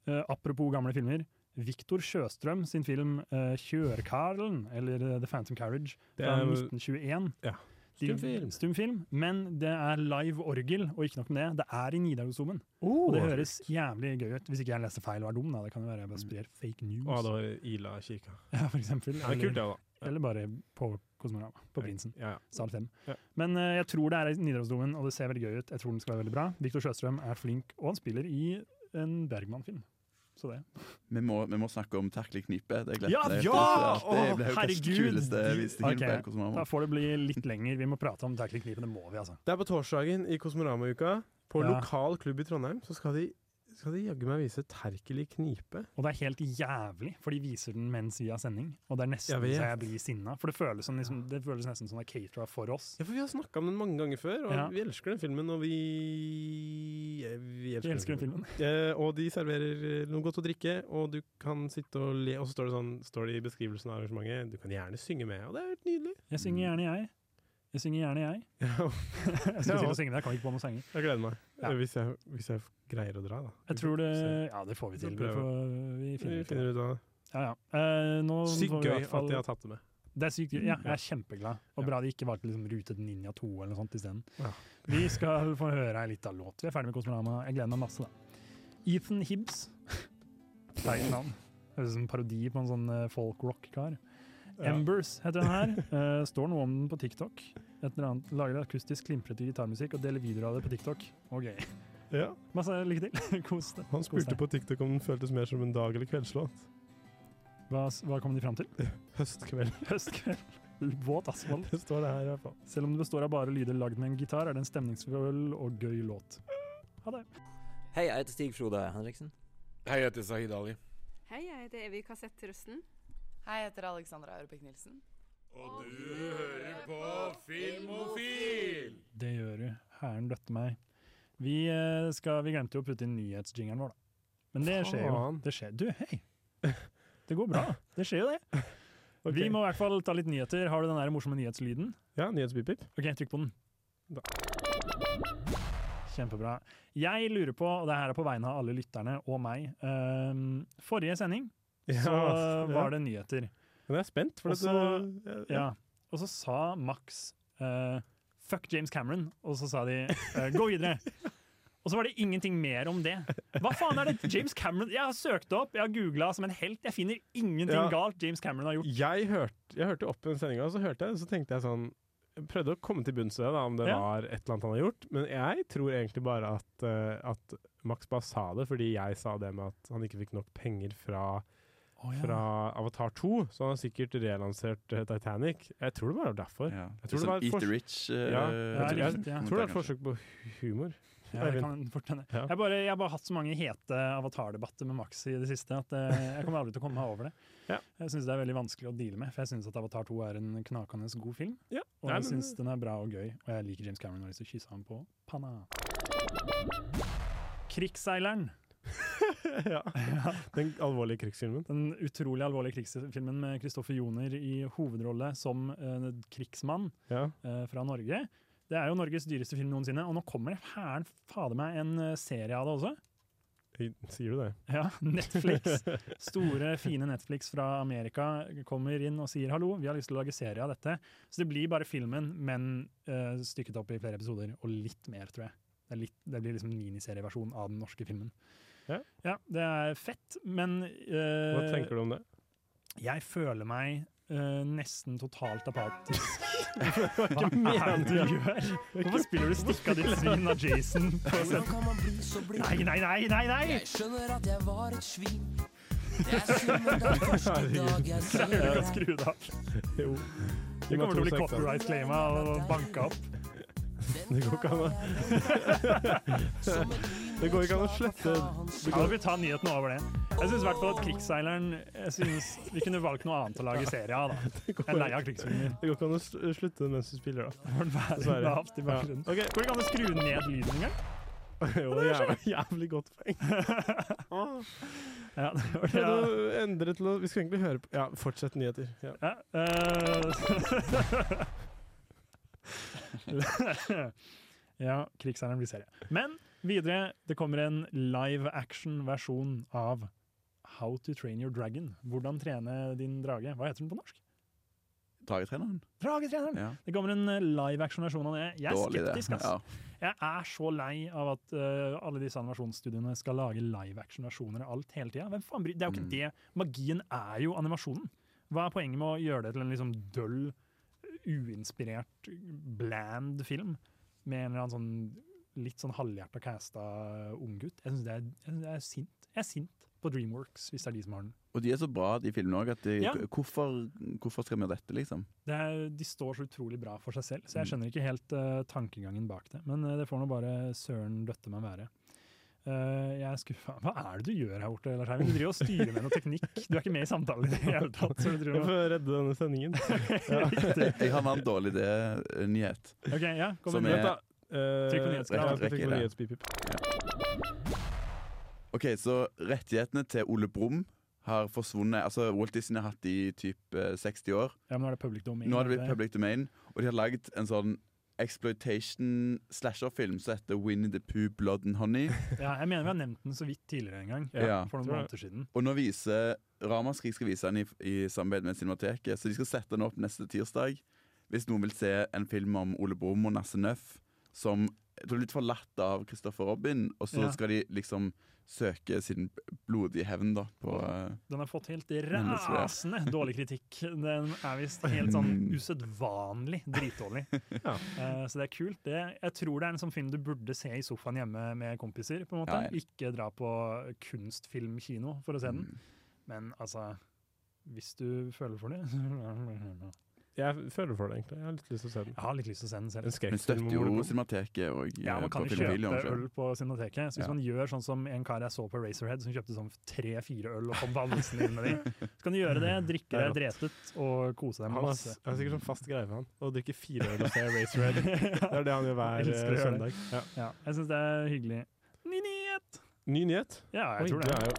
eh, apropos gamle filmer, Viktor Sjøstrøm sin film eh, 'Kjørkarlen', eller eh, 'The Phantom Carriage', Det fra er- 1921. Ja. De- Stumfilm. Stumfilm, men det er live orgel, og ikke nok med det, det er i Nidarosdomen. Oh, og det høres jævlig gøy ut, hvis ikke jeg leste feil og er dum, da. Det kan jo være jeg bare Mm. sprer fake news. Å, det var Ila kirka. Ja, for eksempel. Ja, det er kult, det, da. Ja. Eller bare på Kosmorama, på Prinsen. Ja, ja. Sal 5. Ja. Men eh, jeg tror det er i Nidarosdomen, og det ser veldig gøy ut. Jeg tror den skal være veldig bra. Viktor Sjøstrøm er flink, og han spiller i en Bergman-film. Så det. Vi må, vi må snakke om Terkelig knipe. Det glemte Ja, jeg. ja! Det Å, ble jo kanskje herregud! kuleste De- visningen på Ok, hele Mm. Kosmorama. Da får det bli litt lenger. Vi må prate om Terkelig knipen, det må vi, altså. Det er på torsdagen i Kosmorama-uka. På Ja. lokal klubb i Trondheim så skal de, skal de jaggu meg vise Terkelig knipe. Og det er helt jævlig, for de viser den mens vi har sending. Og det er Jeg nesten vet. så jeg blir sinna. For det føles, som, liksom, det føles nesten som det er catera for oss. Ja, for Vi har snakka om den mange ganger før, og Ja. vi elsker den filmen. Og vi eh, Vi elsker, Vi elsker den Eh, og de serverer eh, noe godt å drikke, og du kan sitte og le. Og så står det sånn, står det i beskrivelsen av arrangementet du kan gjerne synge med. Og det er helt nydelig. Jeg synger gjerne, jeg. Jeg synger gjerne, jeg. jeg skulle til å synge, men jeg kom ikke på noen sanger. Jeg gleder meg. Ja. Eh, Hvis, jeg, hvis jeg greier å dra, da. Jeg tror det Se. Ja, det får vi til. Vi Vi, prøver. får, vi finner ut av Vi det. finner ut av det. Ja, ja. Eh, nå Sykt får vi i gøy hvert fall- at de har tatt det med. Det er sykt gøy. Ja, jeg er kjempeglad. Og bra de ikke valgte liksom Rute Ninja 2 eller noe sånt isteden. Vi skal få høre ei lita låt. Vi er ferdig med Kosmorama. Jeg gleder meg masse, da. Ethan Hibbs. Teit navn. Høres ut som en parodi på en sånn eh, folk-rock-kar. Ja. Embers heter den her. Eh, står noe om den på TikTok. Et eller annet, lager akustisk klimprete gitarmusikk og deler videoer av det på TikTok. Og gøy. Ja. Masse lykke til. Kos deg. Han Kos spurte deg. på TikTok om den føltes mer som en dag- eller kveldslåt. Hva, hva kom de fram til? Høstkveld. Høstkveld. Våt asfalt. Det står det her i hvert fall. Selv om det består av bare lyder lagd med en gitar, er det en stemningsfull og gøy låt. Hei, jeg heter Stig Frode Henriksen. Hei, jeg heter Sahid Ali. Hei, jeg heter Evy Kassett Rusten. Hei, jeg heter Alexandra Aurepik Nilsen. Og du hører på Filmofil! Det gjør du. Hæren døtte meg. Vi, eh, skal, vi glemte jo å putte inn nyhetsjingeren vår, da. Men det skjer jo. Faen. Det skjer. Du, hei! Det går bra. Det skjer jo det. Vi må i hvert fall ta litt nyheter. Har du den der morsomme nyhetslyden? Ja, nyhetspipip. Ok, trykk på den. Kjempebra. Jeg lurer på, og det her er på vegne av alle lytterne og meg ehm, Forrige sending så Ja, ja. var det nyheter. Men jeg er spent, for Og så- at du- ja. Og så sa Max eh, 'fuck James Cameron', og så sa de eh, 'gå videre'. Og så var det ingenting mer om det. Hva faen er det James Cameron Jeg har søkt det opp, jeg har googla som en helt. Jeg finner ingenting Ja. galt James Cameron har gjort. Jeg hørte, jeg hørte opp den sendinga, og så hørte jeg, så tenkte jeg sånn jeg Prøvde å komme til bunns i det, da, om det Ja. var et eller annet han har gjort. Men jeg tror egentlig bare at, eh, at Max bare sa det fordi jeg sa det med at han ikke fikk nok penger fra, ja. fra Avatar 2. Så han har sikkert relansert eh, Titanic. Jeg tror det bare var derfor. Ja. Jeg Det er tror sånn var et Eat the fors- Rich, eh, ja. Ja, Jeg, jeg, riktig, ja. tror det er kommentar, et forsøk på humor. Ja, det kan fort hende. Ja. Jeg, bare, jeg har bare hatt så mange hete avatardebatter med Max i det siste at eh, jeg kommer aldri til å komme meg over det. Jeg syns det er veldig vanskelig å deale med, for jeg syns at Avatar 2 er en knakende god film. Ja. Og Nei, jeg men- syns den er bra og gøy, og jeg liker James Cameron og har lyst til å kysse ham på panna. Krigsseileren. Den alvorlige krigsfilmen. Den utrolig alvorlige krigsfilmen med Kristoffer Joner i hovedrolle som eh, krigsmann eh, fra Norge. Det er jo Norges dyreste film noensinne, og nå kommer det hæren fader meg en eh, serie av det også. Sier du det? Ja, Netflix. Store, fine Netflix fra Amerika kommer inn og sier hallo, vi har lyst til å lage serie av dette. Så det blir bare filmen, men eh, stykket opp i flere episoder, og litt mer, tror jeg. Det, er litt, det blir liksom en miniserieversjon av den norske filmen. Ja. det er fett, men eh, Hva tenker du om det? Jeg føler meg eh, nesten totalt apatisk. Hva Hva er det du gjør? Hvorfor spiller du stikka ditt svin av Jason? på scenen? Nei, nei, nei, nei, nei! Jeg skjønner at jeg var et svin. Jeg skjønner det første dag jeg ser Greier du å deg. skru det av? Jo. Det kommer til å bli To seks, da. copyright-claima og banka opp. Det går ikke an å Det går ikke an å slette Ja, da vil vi ta nyheten over det. Jeg syns i hvert fall at Krigsseileren Jeg synes vi kunne valgt noe annet å lage serie av, da. Jeg er lei av krigsfilmer. Det går ikke an å sl- slutte mens du spiller, da. Dessverre. Lavt i bakgrunnen. Ja. Ok. Går det ikke an å skru ned lyden engang? Jo, det er jævlig, jævlig godt poeng. Ja, det var det. Prøvde å endre til å Vi skulle egentlig høre på Ja, fortsett nyheter. Ja. Ja, eh, ja, Krigsseileren blir serie. Men videre, det kommer en live action-versjon av How to Train Your Dragon. Hvordan trene din drage. Hva heter den på norsk? Dragetreneren. Dragetreneren! Ja. Det kommer en eh, live action-versjon av det. Jeg er Dårlig det, skeptisk, ass. ja. Jeg er så lei av at eh, alle disse animasjonsstudiene skal lage live action-versjoner av alt hele tida. Hvem faen bryr Det er jo ikke det. Magien er jo animasjonen. Hva er poenget med å gjøre det til en liksom døll, uinspirert, bland film med en eller annen sånn litt sånn halvhjerta casta unggutt? Jeg syns det, er- jeg synes det er sint. Jeg er sint på Dreamworks, hvis det er de som har den. Og de er så bra, de filmene òg. Ja. Hvorfor, hvorfor skal vi gjøre dette, liksom? Det er, de står så utrolig bra for seg selv, så jeg skjønner ikke helt eh, tankegangen bak det. Men eh, det får nå bare søren døtte meg være. Eh, jeg er skuffa. Hva er det du gjør her borte, Lars Eivind? Du driver og styrer med noe teknikk. Du er ikke med i samtalen i det hele tatt. Så du Jeg driver med- får redde denne sendingen. jeg, jeg har en annen dårlig idé- eh, nyhet. Ok, ja, kom Som med er- nyhet da. Eh, Trykk på nyhetsskriv. Rekk- Ja, trykk på rekker det. nyhetspipip. Ok, så rettighetene til Ole Brumm har forsvunnet. Altså, Walt Disney har hatt de i typ eh, 60 år. ja, men nå er det public domain. eh. Nå har det er blitt public domain, og de har lagd en sånn exploitation slasher-film som heter Winnie the Pooh, Blood and Honey. Ja, jeg mener vi har nevnt den så vidt tidligere en gang. Ja. For noen måneder siden. Og nå viser Ramaskrik skal vise den i, i samarbeid med Cinemateket, så de skal sette den opp neste tirsdag. Hvis noen vil se en film om Ole Brumm og Nasse Nøff som jeg tror er litt forlatt av Christopher Robin, og så Ja. skal de liksom søke sin blodige hevn da på eh, Den har fått helt Mennesker, ja. rasende dårlig kritikk. Den er visst helt sånn Mm. usedvanlig dritdårlig. Eh, så det er kult. Det, jeg tror det er en sånn film du burde se i sofaen hjemme med kompiser. på en måte. Ja, ja. Ikke dra på kunstfilmkino for å se Mm. den. Men altså, hvis du føler for det Jeg føler for det, egentlig. Jeg har litt lyst til å se den. Jeg har litt lyst til å se den selv. En skrekkfilm Men støtter om jo Ole Brumm. Cinemateket og Ja, man kan på jo filmfilm. kjøpe øl på Cinemateket. Så hvis Ja. man gjør sånn som en kar jeg så på Racerhead, som kjøpte sånn tre-fire øl og kom valsende inn med de, så kan du gjøre det, drikke det, Mm. Det er drepet og kose deg Han har, s- masse. han har sikkert sånn fast greie med han. Å drikke fire øl og se Race Red. Det er det han gjør hver Jeg elsker å eh, gjøre det. søndag. Ja. Ja, jeg syns det er hyggelig. Ny nyhet! Ny nyhet? Ja, jeg Oi, tror det. du er jo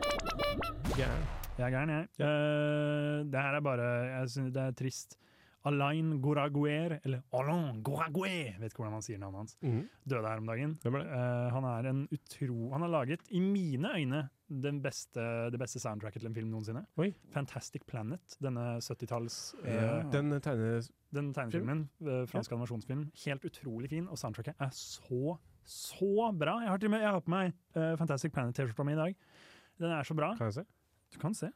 gæren. Jeg er gæren, jeg. Eh, det her er bare Jeg syns det er trist. Alain Goraguer, eller Alain Goraguer, vet ikke hvordan man sier navnet hans, Mhm. døde her om dagen. Hvem er det? Eh, han er en utro Han har laget, i mine øyne, den beste, det beste soundtracket til en film noensinne. Oi. Fantastic Planet, denne 70-talls eh, Den tegner den tegnefilmen, eh, fransk animasjonsfilm, helt utrolig fin, og soundtracket er så, så bra. Jeg har, til og med, jeg har på meg eh, Fantastic Planet-T-skjorta mi i dag. Den er så bra. Kan jeg se? Du kan se.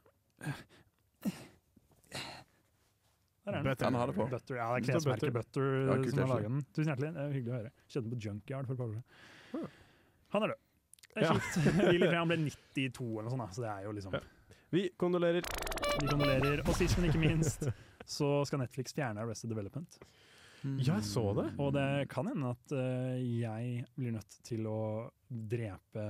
Der er den. Butter. Han har det på. Butter, ja, det Det er står klesmerket Butter, Ja, kul som har T-skjorte. laget den. Tusen hjertelig, det er hyggelig å høre. Kjente den på Junkyard for et par år siden. Han er død. Det er Ja. kjipt. Willy Frey, han ble 92 eller noe sånt, da, så det er jo liksom Vi kondolerer. Vi kondolerer. Og sist, men ikke minst, så skal Netflix fjerne Arrested Development. Mm. Ja, jeg så det. Og det kan hende at eh, jeg blir nødt til å drepe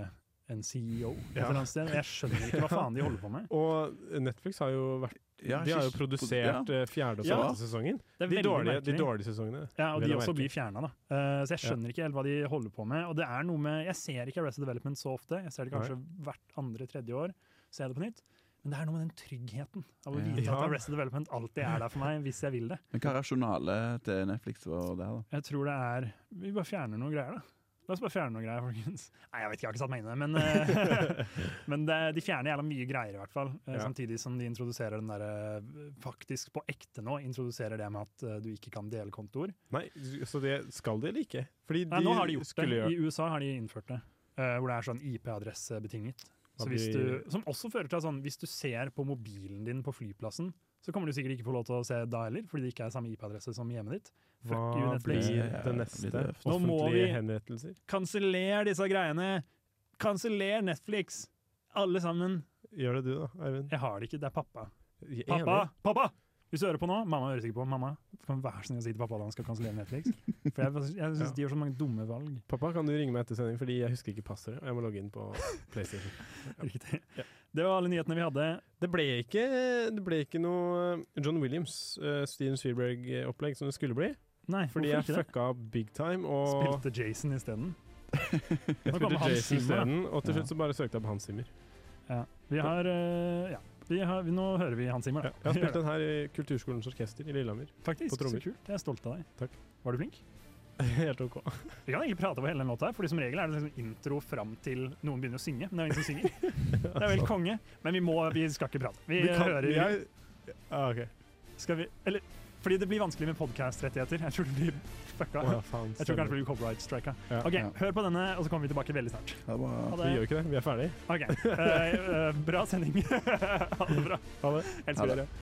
en CEO et Ja. eller annet sted. Jeg skjønner ikke hva faen de holder på med. Og eh, Netflix har jo vært Ja, De har jo sist- produsert ja. eh, fjerde og Ja. femte sesongen. Det er De veldig dårlige, de merkelig. dårlige sesongene. Ja, og vil de jeg også merke. blir fjerna, da. Eh, så jeg Ja. skjønner ikke helt hva de holder på med. Og det er noe med Jeg ser ikke Arrested Development så ofte. Jeg ser det kanskje hvert andre-tredje år. Ser jeg det på nytt. Men det er noe med den tryggheten av å Ja. vite Ja. at Arrested Development alltid er der for meg, hvis jeg vil det. Men hva er rasjonalet til Netflix for det her, da? Jeg tror det er Vi bare fjerner noe greier, da. La oss bare fjerne noe greier, folkens. Nei, jeg vet ikke, jeg har ikke satt meg inn i det. Men, eh, men det, de fjerner jævla mye greier, i hvert fall. eh, Ja. Samtidig som de introduserer den derre Faktisk på ekte nå introduserer det med at eh, du ikke kan dele kontoer. Nei, så det skal de eller ikke? Fordi de Nei, nå har de gjort det. skulle gjøre I USA har de innført det. eh, hvor det er sånn IP-adressebetinget. At Så hvis de- du, som også fører til at sånn, hvis du ser på mobilen din på flyplassen, så kommer du sikkert ikke få lov til å se da heller, fordi det ikke er samme IP-adresse som hjemmet ditt. Fuck Hva you, Netflix. blir det neste? Nå må Offentlige vi- henrettelser? Kanseller disse greiene! Kanseller Netflix! Alle sammen. Gjør det du, da, Eivind? Jeg har det ikke, det er pappa. Jeg er Pappa! enig. Pappa! Hvis du hører på nå, mamma hører sikkert på. Mamma, kan vær så snill å si til pappa at han skal kansellere Netflix. For jeg, jeg synes Ja. de gjør så mange dumme valg. Pappa, kan du ringe meg etter sending, fordi jeg husker ikke passordet. og Jeg må logge inn på PlayStation. Riktig. Det var alle nyhetene vi hadde. Det ble ikke, det ble ikke noe John Williams, eh, Steven Spielberg-opplegg som det skulle bli. Nei, Fordi jeg hvorfor ikke det? fucka big time og Spilte Jason isteden? jeg Nå kommer spilte Hans Jason Zimmer, da. isteden. Og til Ja. slutt så bare søkte jeg på Hans Zimmer. Ja. Vi har, eh, ja. Vi har vi, Nå hører vi Hans Zimmer, da. Jeg har Vi spilt gjør det. den her i Kulturskolens orkester i Lillehammer. Faktisk, på så trommer. kult. Jeg er stolt av deg. Takk. Var du flink? Helt ok. Vi kan egentlig prate over hele den låta her, fordi som regel er det liksom intro fram til noen begynner å synge. Men det er jo ingen som synger. Det er vel konge. Men vi må, vi skal ikke prate. Vi, Vi kan- hører jeg- Ah, ok. Skal vi Eller fordi det blir vanskelig med podkast-rettigheter. Jeg tror det blir fucka. Å, ja, faen, jeg tror kanskje det blir copyright-strika. Ja. OK, Ja. hør på denne, og så kommer vi tilbake veldig snart. Ha Ha Vi gjør ikke det. Vi er ferdig. OK. Eh, eh, bra sending. ha det bra. Ha det. Elsker dere.